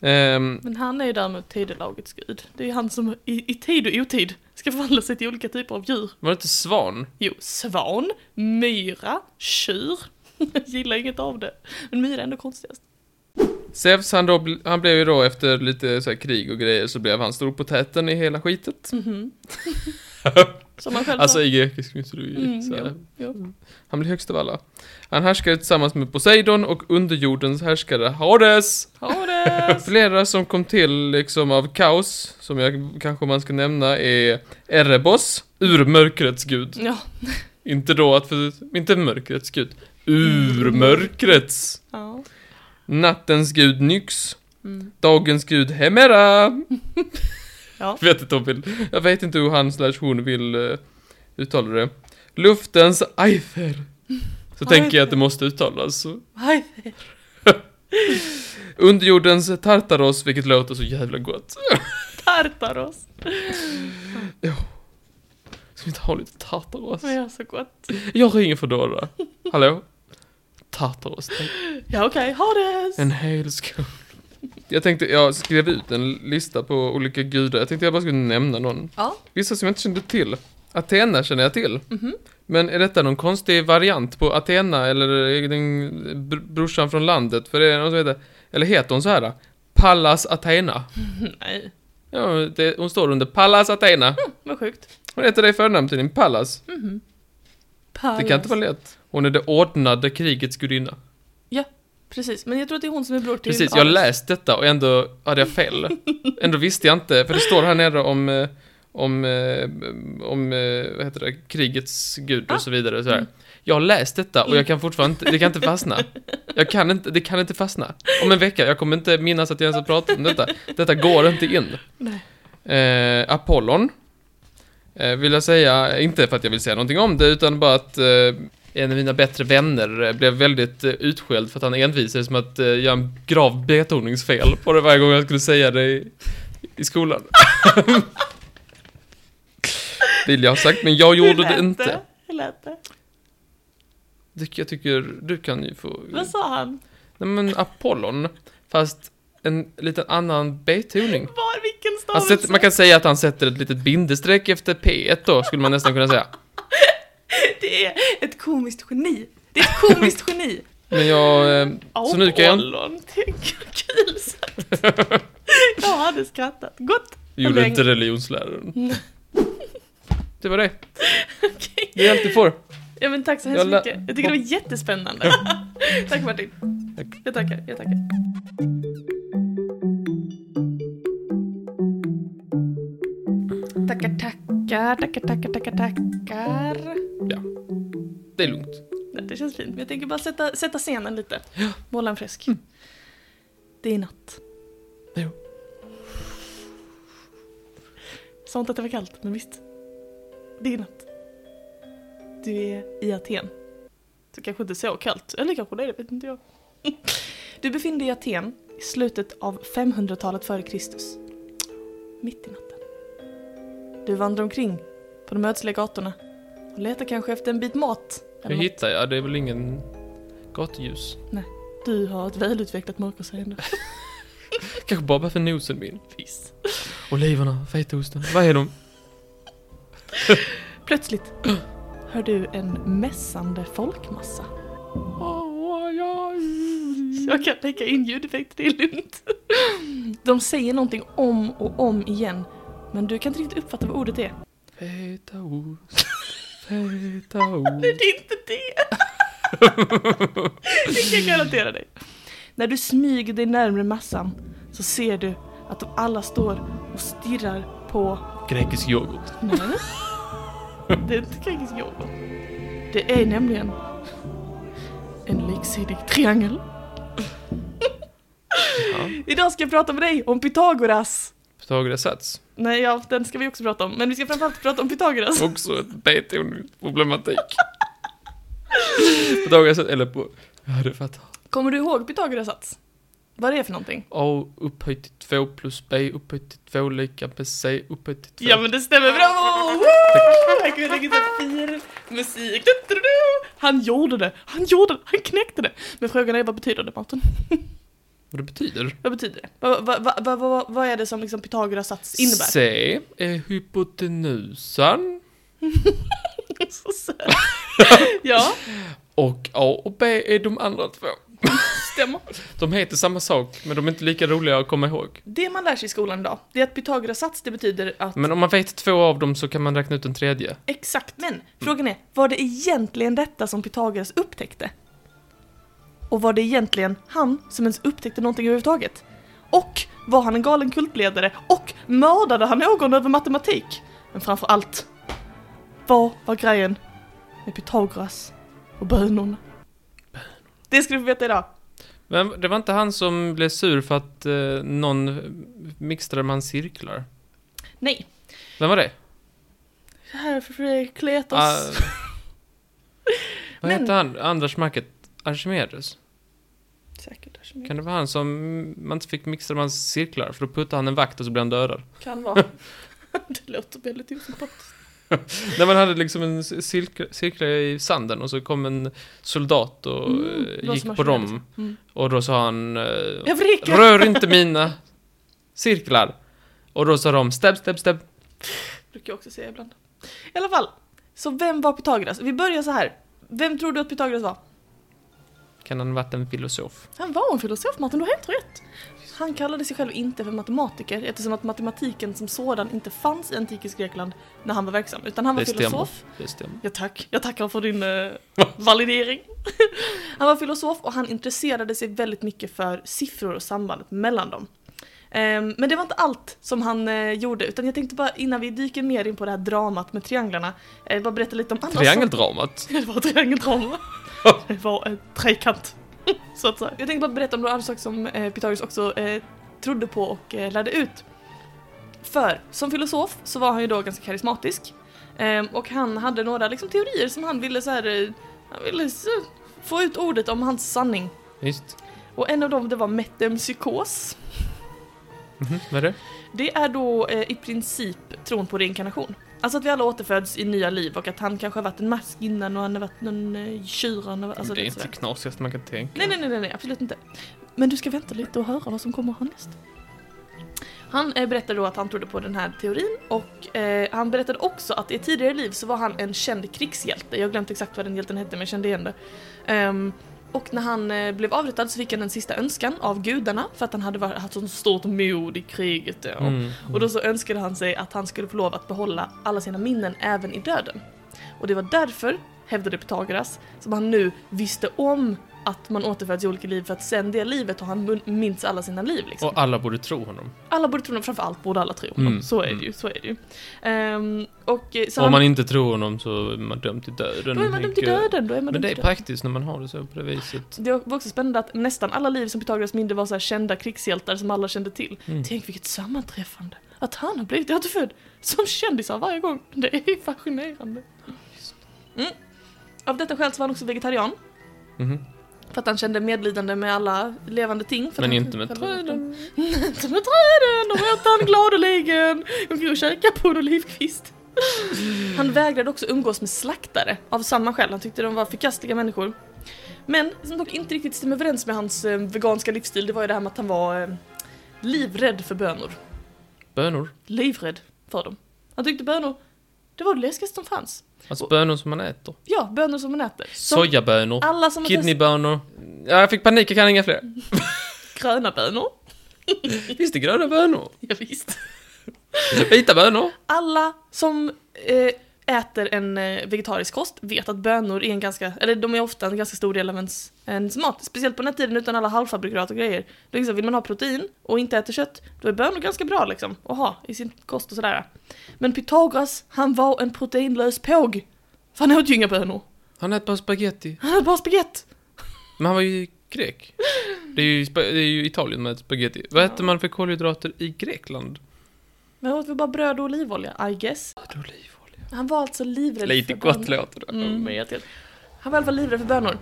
Speaker 1: Ehm,
Speaker 2: Men han är ju däremot tidelagets gud. Det är han som i, i tid och otid ska förvandla sig till olika typer av djur.
Speaker 1: var det inte svan?
Speaker 2: Jo, svan, myra, tjur. *laughs* Jag gillar inget av det. Men myra är ändå konstigast.
Speaker 1: Zeus han, då, bl- han blev ju då efter lite så här krig och grejer så blev han storpotäten i hela skitet.
Speaker 2: Mhm. Som han själv
Speaker 1: Alltså
Speaker 2: sa.
Speaker 1: i grekisk mytologi.
Speaker 2: Mm,
Speaker 1: så här.
Speaker 2: jo, jo.
Speaker 1: Han blir högst av alla. Han härskade tillsammans med Poseidon och underjordens härskare Hades.
Speaker 2: Hades!
Speaker 1: Flera som kom till liksom av kaos, som jag kanske man ska nämna, är Erebos, ur mörkrets gud.
Speaker 2: Ja,
Speaker 1: Inte då att, för, inte mörkrets gud, ur mörkrets.
Speaker 2: ja.
Speaker 1: Nattens gud Nyx.
Speaker 2: Mm.
Speaker 1: Dagens gud Hemera.
Speaker 2: Ja.
Speaker 1: Jag vet inte, om vill, jag vet inte hur han slash hon vill eh, uttala det. Luftens Aifer. Så tänker jag att det måste uttalas. så.
Speaker 2: Aj,
Speaker 1: Underjordens Tartaros, vilket låter så jävla gott.
Speaker 2: Tartaros!
Speaker 1: Ska vi inte ha lite Tartaros?
Speaker 2: Men jag är så gott.
Speaker 1: Jag ringer Foodora. Hallå? Tartaros, tack.
Speaker 2: Ja okej, Hades!
Speaker 1: En hel skål. Jag tänkte, jag skrev ut en lista på olika gudar. Jag tänkte jag bara skulle nämna någon.
Speaker 2: Ja.
Speaker 1: Vissa som jag inte kände till. Athena känner jag till.
Speaker 2: Mhm.
Speaker 1: Men är detta någon konstig variant på Athena eller är den br- brorsan från landet? För det är något som heter, eller heter hon så här? Pallas Athena.
Speaker 2: Nej, Mm,
Speaker 1: Ja, det, hon står under Pallas Athena.
Speaker 2: vad sjukt.
Speaker 1: Hon heter det i förnamn till din Pallas. Det kan inte vara lätt. Hon är det ordnade krigets gudinna.
Speaker 2: Precis, men jag tror att det är hon som är bror till
Speaker 1: Precis, jag har
Speaker 2: Ares.
Speaker 1: läst detta och ändå hade jag fel. Ändå visste jag inte, för det står här nere om, eh, om, eh, om eh, vad heter det, krigets gud och så vidare. Och så här. Jag har läst detta och jag kan fortfarande inte, det kan inte fastna. Jag kan inte, det kan inte fastna. Om en vecka, jag kommer inte minnas att jag ens har pratat om detta. Detta går inte in.
Speaker 2: Nej.
Speaker 1: Eh, Apollon. Eh, vill jag säga, inte för att jag vill säga någonting om det, utan bara att eh, en av mina bättre vänner eh, blev väldigt eh, utskälld för att han envisades som att eh, göra en grav betoningsfel på det varje gång jag skulle säga det i, i skolan. *laughs* vill jag ha sagt, men jag gjorde
Speaker 2: Hur
Speaker 1: det
Speaker 2: lät
Speaker 1: inte.
Speaker 2: Hur lät det?
Speaker 1: Det- Jag tycker du kan ju få...
Speaker 2: Vad sa han?
Speaker 1: Nej men Apollon, fast en liten annan betoning.
Speaker 2: Var, vilken
Speaker 1: Han
Speaker 2: stavelse?
Speaker 1: sätter, Alltså, man kan säga att han sätter ett litet bindestreck efter P1 då, skulle man nästan kunna säga.
Speaker 3: Det är ett komiskt geni. Det är ett komiskt
Speaker 1: *laughs*
Speaker 3: geni.
Speaker 1: Men jag... eh, Så nu kan jag...
Speaker 2: Apollon, tänk vad kul sagt.
Speaker 1: *laughs*
Speaker 2: Jag hade skrattat. Gott.
Speaker 1: Gjorde inte religionsläraren. Det var det. Det är allt du får.
Speaker 2: Ja men tack så
Speaker 1: Jag
Speaker 2: hemskt
Speaker 1: lä-
Speaker 2: mycket. Jag tycker det var jättespännande. *laughs* Tack Martin.
Speaker 1: Tack.
Speaker 2: Jag tackar, jag tackar.
Speaker 3: Tackar, tackar, tackar, tackar, tackar, tackar.
Speaker 1: Det är lugnt.
Speaker 2: Nej, Det känns fint. Men jag tänker bara sätta, sätta scenen lite. Måla en fresk. Det är natt.
Speaker 1: Mm. Jo.
Speaker 2: Sa inte att det var kallt, men visst. Det är natt. Du är i Aten. Så kanske inte så kallt. Eller kanske det är det, vet inte jag. *laughs* Du befinner dig i Aten i slutet av 500-talet före Kristus. Mitt i natten. Du vandrar omkring på de ödsliga gatorna och letar kanske efter en bit mat.
Speaker 1: Hur
Speaker 2: något.
Speaker 1: hittar jag? Det är väl ingen gatljus?
Speaker 2: Du har ett välutvecklat mörkerseende.
Speaker 1: Kanske bara behöver nosen min.
Speaker 2: Fiss.
Speaker 1: Oliverna, fetaosten, vad är de?
Speaker 2: Plötsligt hör du en mässande folkmassa. Mm. Jag kan lägga in ljudeffekter, det är lugnt. De säger någonting om och om igen, men du kan inte riktigt uppfatta vad ordet är.
Speaker 1: Fetaost, fetaost.
Speaker 2: Nej, *laughs* det är inte *laughs* det! Det kan jag garantera dig. När du smyger dig närmare massan så ser du att de alla står och stirrar på
Speaker 1: Grekisk yoghurt.
Speaker 2: Nej. Det är inte grekisk yoghurt. Det är nämligen en liksidig triangel.
Speaker 1: Ja.
Speaker 2: Idag ska jag prata med dig om Pythagoras.
Speaker 1: Pythagoras sats.
Speaker 2: Nej, ja, den ska vi också prata om. Men vi ska framförallt prata om Pythagoras.
Speaker 1: Också ett Beethoven-problematik. Pythagoras sats, eller på... Jag hade fattat.
Speaker 2: Kommer du ihåg Pythagoras sats? Vad det är för någonting?
Speaker 1: A upphöjt till 2 plus B upphöjt till 2 lika med C upphöjt till 2.
Speaker 2: Ja men det stämmer, bravo! Woo! Här kunde lägga så fin musik. Du-du-du-du! Han gjorde det, han gjorde det, han knäckte det. Men frågan är vad betyder det Martin?
Speaker 1: Vad det betyder?
Speaker 2: Vad betyder det? Vad, vad, vad, vad, vad, vad är det som liksom Pythagoras sats
Speaker 1: *laughs*
Speaker 2: innebär?
Speaker 1: C är hypotenusan.
Speaker 2: Så söt. Ja,
Speaker 1: Och A och B är de andra två.
Speaker 2: stämmer.
Speaker 1: De heter samma sak, men de är inte lika roliga att komma ihåg.
Speaker 2: Det man lär sig i skolan idag, det är att Pythagoras sats, det betyder att...
Speaker 1: Men om man vet två av dem så kan man räkna ut den tredje.
Speaker 2: Exakt. Men frågan är, var det egentligen detta som Pythagoras upptäckte? Och var det egentligen han som ens upptäckte någonting överhuvudtaget? Och var han en galen kultledare? Och mördade han någon över matematik? Men framför allt, vad var grejen med Pythagoras och bönorna? Det ska du få veta idag.
Speaker 1: Men det var inte han som blev sur för att eh, någon mixtrade med hans cirklar?
Speaker 2: Nej.
Speaker 1: Vem var det?
Speaker 2: Det här är för Kletos.
Speaker 1: Ah,
Speaker 2: *laughs*
Speaker 1: vad
Speaker 2: Men-
Speaker 1: hette han? Anders Market? Archimedes?
Speaker 2: Säkert Archimedes.
Speaker 1: Kan det vara han som man inte fick mixtra med hans cirklar? För då puttade han en vakt och så blev han dödad. *laughs*
Speaker 2: Kan vara. det låter väldigt osympatiskt.
Speaker 1: När man hade liksom en cirkel, cirkel i sanden och så kom en soldat och
Speaker 2: Mm,
Speaker 1: eh,
Speaker 2: det var som
Speaker 1: gick på dem.
Speaker 2: Mm.
Speaker 1: Och då sa han eh,
Speaker 2: Eureka!
Speaker 1: Rör inte mina cirklar. Och då sa de stab, stab, stab.
Speaker 2: Brukar jag också säga ibland. I alla fall. Så vem var Pythagoras? Vi börjar så här. Vem tror du att Pythagoras var?
Speaker 1: Kan han varit en filosof?
Speaker 2: Han var en filosof Martin, du har helt rätt. Han kallade sig själv inte för matematiker eftersom att matematiken som sådan inte fanns i antikens Grekland när han var verksam. Utan han var
Speaker 1: Det stämmer.
Speaker 2: filosof.
Speaker 1: Det stämmer.
Speaker 2: Ja tack, jag tackar för din eh, validering. *laughs* han var filosof och han intresserade sig väldigt mycket för siffror och sambandet mellan dem. Ehm, men det var inte allt som han eh, gjorde, utan jag tänkte bara innan vi dyker mer in på det här dramat med trianglarna, eh, bara berätta lite om andra
Speaker 1: Triangeldramat.
Speaker 2: saker. *laughs* Det var
Speaker 1: *laughs*
Speaker 2: ett triangeldrama. det var en trekant. *laughs* Så att säga. Jag tänkte bara berätta om några andra saker som eh, Pythagoras också eh, trodde på och eh, lärde ut. För som filosof så var han ju då ganska karismatisk. Ehm, och han hade några liksom, teorier som han ville så här, eh, han ville så, få ut ordet om hans sanning.
Speaker 1: Visst.
Speaker 2: Och en av dem det var metempsykos.
Speaker 1: Mhm, Vad är det?
Speaker 2: Det är då eh, i princip tron på reinkarnation. Alltså att vi alla återföds i nya liv och att han kanske har varit en mask innan och han har varit någon eh, tjur. han har- Alltså,
Speaker 1: det är
Speaker 2: lite
Speaker 1: inte
Speaker 2: sådär.
Speaker 1: det knasigaste man kan tänka.
Speaker 2: Nej, nej, nej, nej, nej, absolut inte. Men du ska vänta lite och höra vad som kommer härnäst. Han eh, berättade då att han trodde på den här teorin och eh, han berättade också att i tidigare liv så var han en känd krigshjälte. Jag har glömt exakt vad den hjälten hette men jag kände igen det. Ehm, och när han eh, blev avrättad så fick han en sista önskan av gudarna för att han hade varit- haft sånt stort mod i kriget. eh, Och
Speaker 1: Mm.
Speaker 2: och då så önskade han sig att han skulle få lov att behålla alla sina minnen även i döden. Och det var därför, hävdade Pythagoras, som han nu visste om att man återföds i olika liv för att sen det livet har han mun- minns alla sina liv liksom.
Speaker 1: Och alla borde tro honom.
Speaker 2: Alla borde tro honom, framförallt borde alla tro honom.
Speaker 1: Mm,
Speaker 2: Så är det
Speaker 1: mm.
Speaker 2: ju, så är det ju. Ehm, och eh, så
Speaker 1: Om
Speaker 2: han,
Speaker 1: man inte tror honom så är man dömd till döden.
Speaker 2: då är man dömd till
Speaker 1: tänker jag.
Speaker 2: döden, då är man
Speaker 1: Men
Speaker 2: dömd
Speaker 1: det är
Speaker 2: till döden.
Speaker 1: praktiskt när man har det så på det viset.
Speaker 2: Det var också spännande att nästan alla liv som Pythagoras mindre var så här kända krigshjältar som alla kände till.
Speaker 1: Mm.
Speaker 2: Tänk vilket sammanträffande! Att han har blivit återfödd som kändisar varje gång. Det är ju fascinerande. Mm. Av detta skäl så var han också vegetarian.
Speaker 1: Mhm.
Speaker 2: För att han kände medlidande med alla levande ting. För att
Speaker 1: Men
Speaker 2: han-
Speaker 1: inte med
Speaker 2: själv var
Speaker 1: träden.
Speaker 2: vegetarian. *laughs* inte med träden! Och åt han gladeligen! Och käkade på en olivkvist. Han vägrade också umgås med slaktare av samma skäl. Han tyckte de var förkastliga människor. Men som dock inte riktigt stämmer överens med hans eh, veganska livsstil, det var ju det här med att han var eh, livrädd för bönor.
Speaker 1: Bönor.
Speaker 2: Livrädd för dem. Han tyckte bönor, det var det läskigaste som fanns.
Speaker 1: Alltså
Speaker 2: Och-
Speaker 1: bönor som man äter.
Speaker 2: Ja, bönor som man äter. Som
Speaker 1: Sojabönor.
Speaker 2: alla som har testat
Speaker 1: Kidneybönor. Ja, jag fick panik, jag kan inga
Speaker 2: *laughs*
Speaker 1: fler.
Speaker 2: gröna bönor.
Speaker 1: Finns det gröna bönor?
Speaker 2: Ja, visst.
Speaker 1: Vita bönor?
Speaker 2: Alla som eh, äter en eh, vegetarisk kost vet att bönor är en ganska, eller de är ofta en ganska stor del av ens, ens mat. Speciellt på den här tiden utan alla halvfabrikat och grejer. Då liksom, vill man ha protein och inte äta kött, då är bönor ganska bra liksom att ha i sin kost och sådär. Men Pythagoras, han var en proteinlös påg. För han åt ju inga bönor.
Speaker 1: Han äter bara spaghetti.
Speaker 2: Han hade bara spagetti.
Speaker 1: Men han var ju grek. Det är ju, spa- det är ju Italien med spaghetti. Vad
Speaker 2: Ja.
Speaker 1: äter man för kolhydrater i Grekland?
Speaker 2: Men han åt väl bara bröd och olivolja, I guess.
Speaker 1: Olivolja.
Speaker 2: Han var alltså livrädd
Speaker 1: Lite
Speaker 2: bönor.
Speaker 1: gott låter det.
Speaker 2: Mm. Han var i alla fall livrädd för bönor.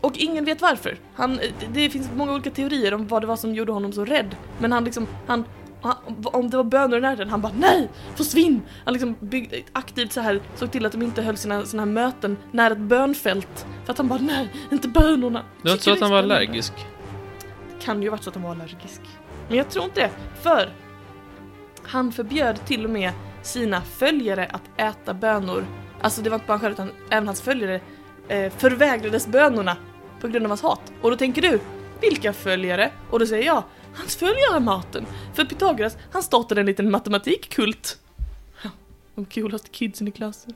Speaker 2: Och ingen vet varför. Han, det finns många olika teorier om vad det var som gjorde honom så rädd. Men han liksom, han, han om det var bönor i närheten, han bara NEJ! Försvinn! Han liksom byggde, aktivt så här såg till att de inte höll sina, sina här möten nära ett bönfält. För att han bara NEJ! Inte bönorna!
Speaker 1: Det var inte
Speaker 2: Tycker
Speaker 1: så att han var
Speaker 2: är spännande.
Speaker 1: allergisk.
Speaker 2: Kan ju varit så att han var allergisk. Men jag tror inte det, för han förbjöd till och med sina följare att äta bönor. Alltså det var inte bara han själv utan även hans följare eh, förvägrades bönorna på grund av hans hat. Och då tänker du, vilka följare? Och då säger jag, hans följare maten. För Pythagoras, han startade en liten matematikkult. *laughs* Ja, De coolaste kidsen i klassen.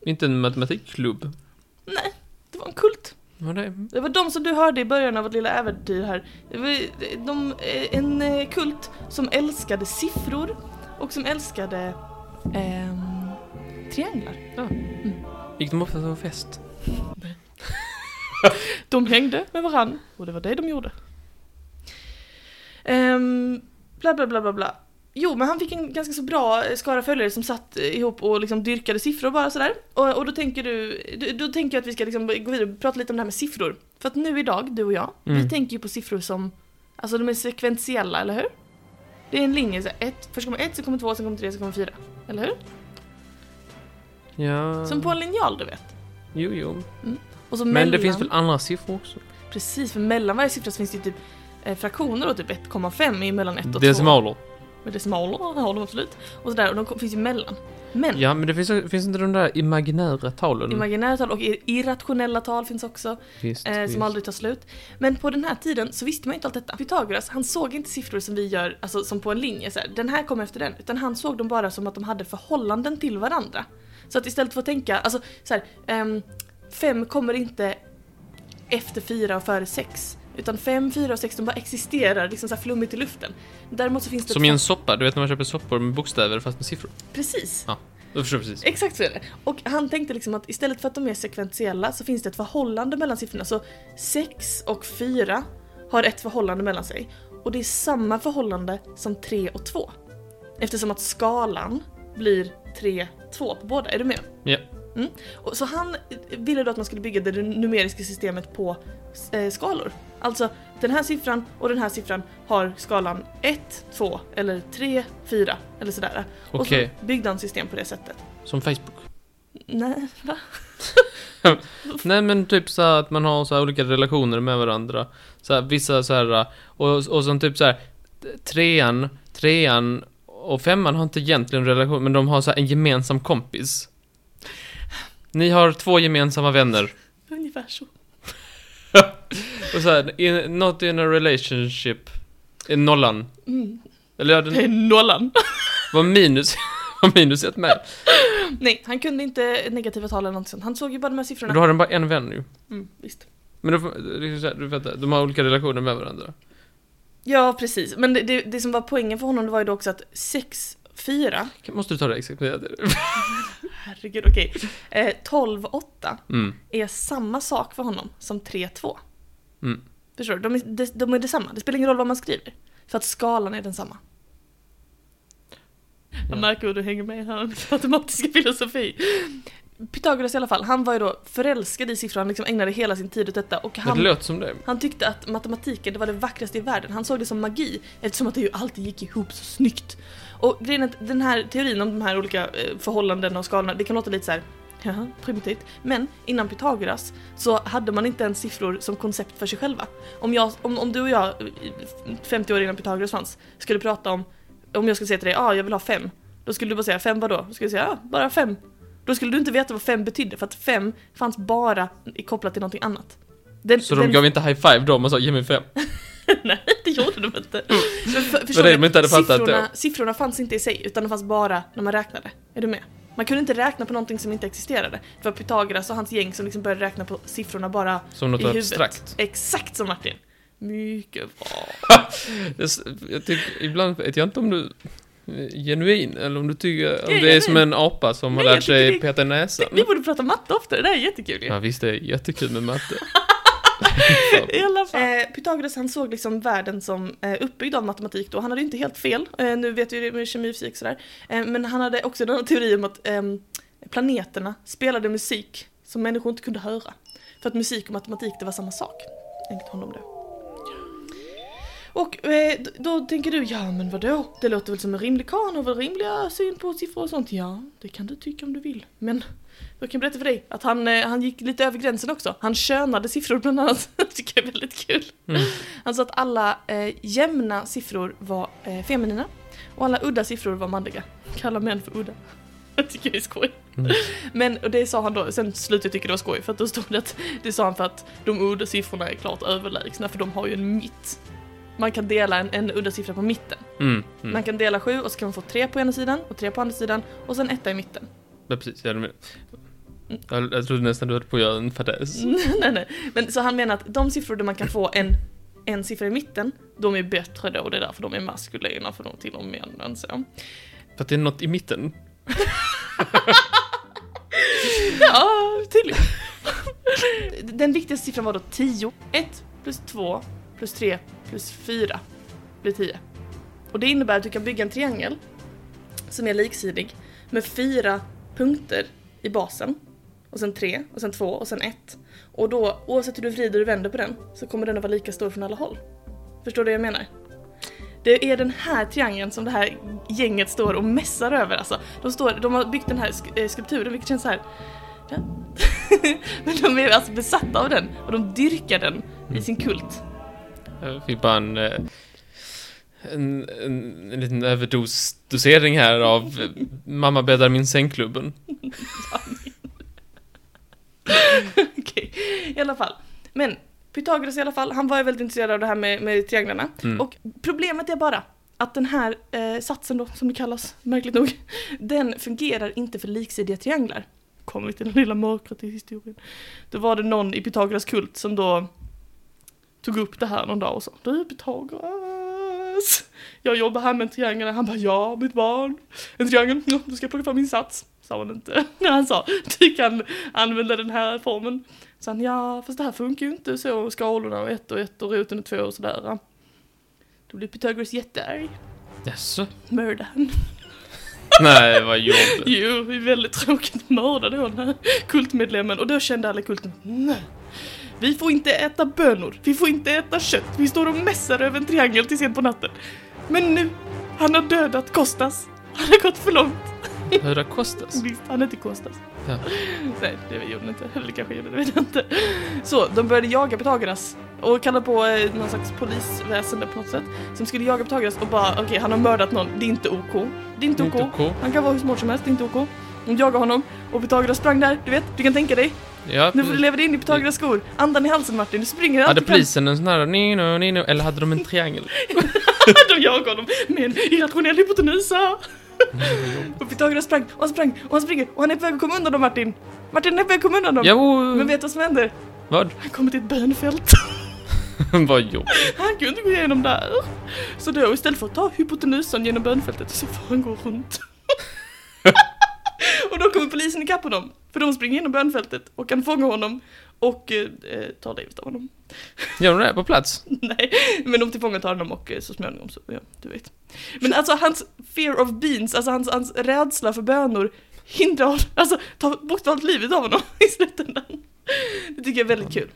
Speaker 1: Inte en matematikklubb.
Speaker 2: Nej, det var en kult.
Speaker 1: Var det?
Speaker 2: Det var de som du hörde i början av vårt lilla äventyr här. Det var de, en eh, kult som älskade siffror och som älskade ehm, trianglar.
Speaker 1: Gick de ofta på fest?
Speaker 2: De hängde med varann och det var det de gjorde. Ehm, bla bla bla bla bla. Jo, men han fick en ganska så bra eh, skara följare som satt eh, ihop och liksom dyrkade siffror bara sådär. Och, och då tänker du, du- då tänker jag att vi ska liksom gå vidare och prata lite om det här med siffror. För att nu idag, du och jag,
Speaker 1: Mm.
Speaker 2: vi tänker ju på siffror som, alltså de är sekventiella, eller hur? Det är en linje, så här, ett, först kommer ett, sen kommer två, sen kommer tre, sen kommer fyra. Eller hur?
Speaker 1: Ja.
Speaker 2: Som på en linjal, du vet.
Speaker 1: Jo, jo.
Speaker 2: Och så
Speaker 1: Mm. Men det
Speaker 2: mellan-
Speaker 1: finns väl andra siffror också?
Speaker 2: Precis, för mellan varje siffra så finns det ju typ eh, fraktioner och typ 1,5 är mellan 1 och 2.
Speaker 1: Decimaler.
Speaker 2: Med decimaler har de absolut. Och sådär, och de kom- finns ju mellan. Men
Speaker 1: Ja, men det finns, finns inte de där imaginära talen?
Speaker 2: imaginära tal och ir- irrationella tal finns också,
Speaker 1: visst,
Speaker 2: eh,
Speaker 1: visst.
Speaker 2: som aldrig tar slut. Men på den här tiden så visste man ju inte allt detta. Pythagoras, han såg inte siffror som vi gör, alltså som på en linje så här, den här kommer efter den. Utan han såg dem bara som att de hade förhållanden till varandra. Så att istället för att tänka, alltså så här, ehm, fem kommer inte efter fyra och före sex. Utan fem, fyra och sex, de bara existerar liksom så här flummigt i luften. Däremot så finns det...
Speaker 1: Som i en soppa, du vet när man köper soppor med bokstäver fast med siffror.
Speaker 2: Precis.
Speaker 1: Jag förstår precis.
Speaker 2: Exakt så är det. Och han tänkte liksom att istället för att de är sekventiella så finns det ett förhållande mellan siffrorna. Så 6 och 4 har ett förhållande mellan sig. Och det är samma förhållande som 3 och 2. Eftersom att skalan blir 3, 2 på båda. Är du med?
Speaker 1: Ja.
Speaker 2: Mm. Och så han ville då att man skulle bygga det numeriska systemet på eh, skalor. Alltså den här siffran och den här siffran har skalan 1, 2 eller 3, 4 eller sådär. Och så
Speaker 1: Okej.
Speaker 2: byggde han system på det sättet.
Speaker 1: Som Facebook.
Speaker 2: Nej, va?
Speaker 1: Nej men typ så här att man har så här olika relationer med varandra. Så här, vissa så här, och, och sen typ så här, trean, trean och femman har inte egentligen relation, men de har så här en gemensam kompis. Ni har två gemensamma vänner.
Speaker 2: Ungefär så.
Speaker 1: Och så här, in, not in a relationship. Eh, Nollan.
Speaker 2: Mm.
Speaker 1: Eller ja, den
Speaker 2: Det är nollan.
Speaker 1: var minus, *laughs* var minus ett med.
Speaker 2: Nej, han kunde inte negativa tal eller någonting sånt. Han såg ju bara de här
Speaker 1: Och
Speaker 2: siffrorna.
Speaker 1: då har den bara en vän ju.
Speaker 2: Mm, visst.
Speaker 1: Men de, liksom så här, du fattar, de har olika relationer med varandra.
Speaker 2: Ja, precis. Men det, det, det som var poängen för honom det var ju då också att 6-4,
Speaker 1: Kan- Måste du ta det exakt?
Speaker 2: herregud okej, eh, 12-8
Speaker 1: Mm.
Speaker 2: är samma sak för honom som 3-2.
Speaker 1: Mm.
Speaker 2: Förstår du? De är, de, de är detsamma. Det spelar ingen roll vad man skriver. För att skalan är densamma.
Speaker 1: Ja.
Speaker 2: Jag märker hur du hänger med här med matematiska filosofi. Pythagoras i alla fall, han var ju då förälskad i siffror, han liksom ägnade hela sin tid åt detta och
Speaker 1: Men det
Speaker 2: han,
Speaker 1: låter som det.
Speaker 2: han tyckte att matematiken det var det vackraste i världen, han såg det som magi eftersom att det ju alltid gick ihop så snyggt. Och grejen är att den här teorin om de här olika eh, förhållandena och skalorna, det kan låta lite så här. Jaha, primitivt. Men innan Pythagoras så hade man inte ens siffror som koncept för sig själva. Om, jag, om, om du och jag, eh, 50 år innan Pythagoras fanns, skulle prata om, om jag skulle säga till dig, ja ah, jag vill ha fem. Då skulle du bara säga, fem vadå? Då skulle du säga, ja ah, bara fem. Då skulle du inte veta vad fem betydde, för att fem fanns bara i- kopplat till någonting annat. Den,
Speaker 1: Så de
Speaker 2: den-
Speaker 1: gav inte high five de och sa ge mig fem.
Speaker 2: *laughs* Nej, det gjorde de inte. Men för,
Speaker 1: Mm. det
Speaker 2: förstår
Speaker 1: de inte hade
Speaker 2: du?
Speaker 1: fattat då.
Speaker 2: siffrorna, siffrorna fanns inte i sig, utan de fanns bara när man räknade. Är du med? Man kunde inte räkna på någonting som inte existerade. För Pythagoras och hans gäng som liksom började räkna på siffrorna bara
Speaker 1: Som något
Speaker 2: i huvudet.
Speaker 1: abstrakt.
Speaker 2: Exakt som Martin. Mycket bra.
Speaker 1: Det, s- jag tycker, ibland vet jag inte om du är genuin eller om du tycker om
Speaker 2: Jag är
Speaker 1: det är som
Speaker 2: genuin.
Speaker 1: en apa som har
Speaker 2: Nej, jag
Speaker 1: lärt sig
Speaker 2: tycker
Speaker 1: peta näsan.
Speaker 2: Vi borde prata matte oftare, det här är jättekul ju.
Speaker 1: Ja visst, det är jättekul med *laughs* matte.
Speaker 2: *laughs* I alla fall. Eh, Pythagoras han såg liksom världen som eh, uppbyggd av matematik då. Han hade ju inte helt fel, eh, nu vet vi ju det med kemi och fysik sådär. Eh, men han hade också den här teorin om att ehm, planeterna spelade musik som människor inte kunde höra. För att musik och matematik det var samma sak, enligt honom då. Och eh, d- då tänker du, ja men vadå? Det låter väl som en rimlig karl och väl rimliga syn på siffror och sånt. Ja, det kan du tycka om du vill. Men jag kan berätta för dig att han, eh, han gick lite över gränsen också. Han könade siffror bland annat. *laughs* Det tycker jag är väldigt kul.
Speaker 1: Mm.
Speaker 2: Han sa att alla eh, jämna siffror var eh, feminina och alla udda siffror var manliga. Kalla män för udda. *laughs* Jag tycker det är skoj.
Speaker 1: Mm.
Speaker 2: Men och det sa han då, sen slutade jag tycka det var skoj för att då stod det att det sa han för att de udda siffrorna är klart överlägsna för de har ju en mitt. Man kan dela en, en udda siffra på mitten.
Speaker 1: Mm. Mm.
Speaker 2: Man kan dela sju och så kan man få tre på ena sidan och tre på andra sidan och sen etta i mitten. *laughs*
Speaker 1: Ja, precis, jag, hade med. jag, jag trodde nästan du höll på att göra en fadäs.
Speaker 2: nej, nej. Men så han menar att de siffror där man kan få en, en siffra i mitten, de är bättre då. Det är därför de är maskulina, för de tillhör männen. Så.
Speaker 1: För att det är något i mitten.
Speaker 2: Ja, tydligen. Den viktigaste siffran var då 10. 1 plus 2 plus 3 plus 4 blir 10. Och det innebär att du kan bygga en triangel som är liksidig med fyra punkter i basen. Och sen 3, och sen 2 och sen 1. Och då, oavsett hur du vrider och vänder på den, så kommer den att vara lika stor från alla håll. Förstår du vad jag menar? Det är den här triangeln som det här gänget står och mässar över alltså. De, står, de har byggt den här sk- eh, skulpturen vilket känns så här. Ja. Men de är alltså besatta av den och de dyrkar den i sin kult.
Speaker 1: Jag fick bara en, eh, en, en, en liten överdosdosering här av eh, Mamma bäddar min sängklubben.
Speaker 2: *laughs* Okej, i alla fall. Men Pythagoras i alla fall, han var ju väldigt intresserad av det här med, med trianglarna.
Speaker 1: Mm.
Speaker 2: Och problemet är bara att den här eh, satsen då, som det kallas, märkligt nog, den fungerar inte för liksidiga trianglar. Kommer vi till den lilla mörkret i historien. Då var det någon i Pythagoras kult som då tog upp det här någon dag och sa Du Pythagoras, jag jobbar här med en triangel. Han bara ja, mitt barn. En triangel, ja, då ska jag plocka fram min sats. Sa han inte. *laughs* Han sa, du kan använda den här formen. Så han, ja fast det här funkar ju inte så, skalorna och ett och ett och roten och två och sådär. Då blev Pythagoras jättearg.
Speaker 1: Jaså?
Speaker 2: Mördade han.
Speaker 1: Nej, vad jobbigt.
Speaker 2: *laughs* Jo, det är väldigt tråkigt att mörda då den här kultmedlemmen. Och då kände alla i kulten, nej. Vi får inte äta bönor, vi får inte äta kött, vi står och mässar över en triangel till sent på natten. Men nu, han har dödat Kostas. Han har gått för långt.
Speaker 1: Höra Kostas.
Speaker 2: Visst, han hette Kostas.
Speaker 1: Ja.
Speaker 2: *laughs* Nej, det gjorde han inte. Eller kanske gjorde det, vet jag inte. Så, de började jaga Pythagoras och kalla på eh, någon slags polisväsende på något sätt. Som skulle jaga Pythagoras och bara, okej, han har mördat någon. Det är inte OK. Det är inte OK.
Speaker 1: Inte OK.
Speaker 2: Han kan vara hur smart som helst, det är inte OK. De jagar honom och Pythagoras sprang där, du vet, du kan tänka dig.
Speaker 1: Ja,
Speaker 2: Nu får du leva dig in i Pythagoras skor. Andan i halsen Martin, du springer
Speaker 1: Hade
Speaker 2: allt du kan.
Speaker 1: polisen en sån här nino, nino, eller hade de en triangel?
Speaker 2: *laughs* De jagar honom med en irrationell hypotenusa.
Speaker 1: Mm.
Speaker 2: och Pythagoras sprang och han sprang och han springer och han är på väg att komma undan dem Martin. Martin är på väg att komma undan dem.
Speaker 1: Ja, och,
Speaker 2: Men vet du vad som händer?
Speaker 1: Vad? *laughs*
Speaker 2: Han kommer till ett bönfält. *laughs*
Speaker 1: Vad jobb.
Speaker 2: Han kunde inte gå igenom där. Så då istället för att ta hypotenusan genom bönfältet så får han gå runt. *laughs* och då kommer polisen ikapp honom. För de springer genom bönfältet och kan fånga honom och eh, eh, tar livet av honom. *laughs*
Speaker 1: Gör de det på plats?
Speaker 2: Nej, men de tillfångatar honom och eh, så småningom så, ja, du vet. Men alltså hans fear of beans, alltså hans, hans rädsla för bönor hindrar honom, alltså tar bort allt livet av honom *laughs* i slutändan. Det tycker jag är väldigt kul.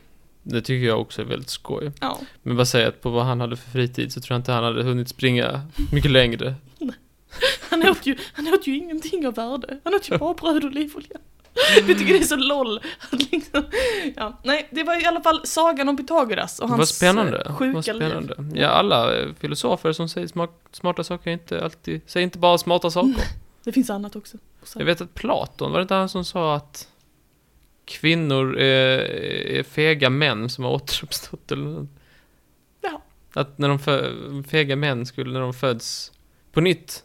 Speaker 1: Det tycker jag också är väldigt skoj.
Speaker 2: Ja.
Speaker 1: Men bara säga att på vad han hade för fritid så tror jag inte han hade hunnit springa mycket längre.
Speaker 2: Han åt, ju, han åt ju ingenting av värde. Han åt ju bara bröd och olivolja. Vi tycker det är så LOL. Att liksom, ja. Nej, det var i alla fall sagan om Pythagoras och hans
Speaker 1: Vad spännande.
Speaker 2: eh, sjuka
Speaker 1: Vad
Speaker 2: liv.
Speaker 1: spännande. Ja, alla eh, filosofer som säger smart, smarta saker är inte alltid, säger inte bara smarta saker.
Speaker 2: Det finns annat också.
Speaker 1: Jag vet att Platon, var det inte han som sa att kvinnor är, är fega män som har återuppstått eller något?
Speaker 2: Ja.
Speaker 1: Att när de fö- fega män skulle, när de föds på nytt,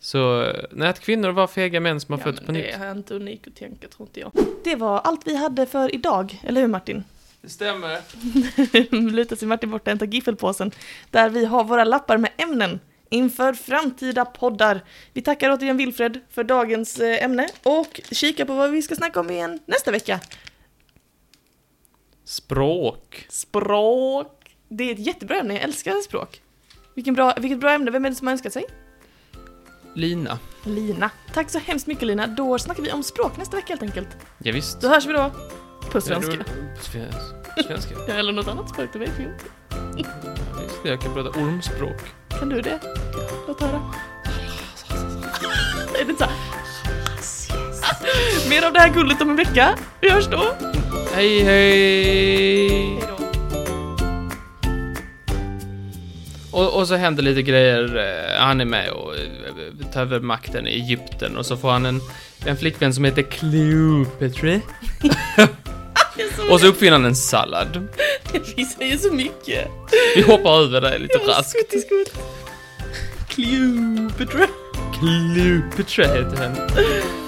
Speaker 1: så, eh, nej att kvinnor var fega män som har
Speaker 2: Ja,
Speaker 1: fötts
Speaker 2: men
Speaker 1: på
Speaker 2: det
Speaker 1: nytt.
Speaker 2: är inte unik att tänka, tror inte jag. Det var allt vi hade för idag, eller hur Martin? *laughs*
Speaker 1: Det stämmer.
Speaker 2: lutar sig Martin bort och hämtar giffelpåsen där vi har våra lappar med ämnen inför framtida poddar. Vi tackar återigen Wilfred för dagens eh, ämne och kika på vad vi ska snacka om igen nästa vecka.
Speaker 1: Språk.
Speaker 2: Språk. Det är ett jättebra ämne, jag älskar språk. Vilken bra, vilket bra ämne, vem är det som har önskat sig?
Speaker 1: Lina.
Speaker 2: Lina. Tack så hemskt mycket Lina, då snackar vi om språk nästa vecka helt enkelt.
Speaker 1: Ja, visst.
Speaker 2: Då hörs vi då. På
Speaker 1: Ja,
Speaker 2: svenska.
Speaker 1: det var- sve- Svenska.
Speaker 2: Ja, eller något annat språk, det vet vi inte.
Speaker 1: Ja, Just det, jag kan prata ormspråk.
Speaker 2: Kan du det? Låt höra. *laughs* Är det inte så? här? Mer av det här guldet om en vecka. Vi hörs då.
Speaker 1: Hej, hej!
Speaker 2: Hejdå.
Speaker 1: Och, och så händer lite grejer. eh, Han är med och eh, tar över makten i Egypten och så får han en, en flickvän som heter *laughs* Cleopatra. Och så uppfinner han en sallad.
Speaker 2: *laughs* Vi säger så mycket.
Speaker 1: Vi hoppar över det lite raskt.
Speaker 2: Skutt i skutt. Cleopatra.
Speaker 1: Cleopatra heter henne.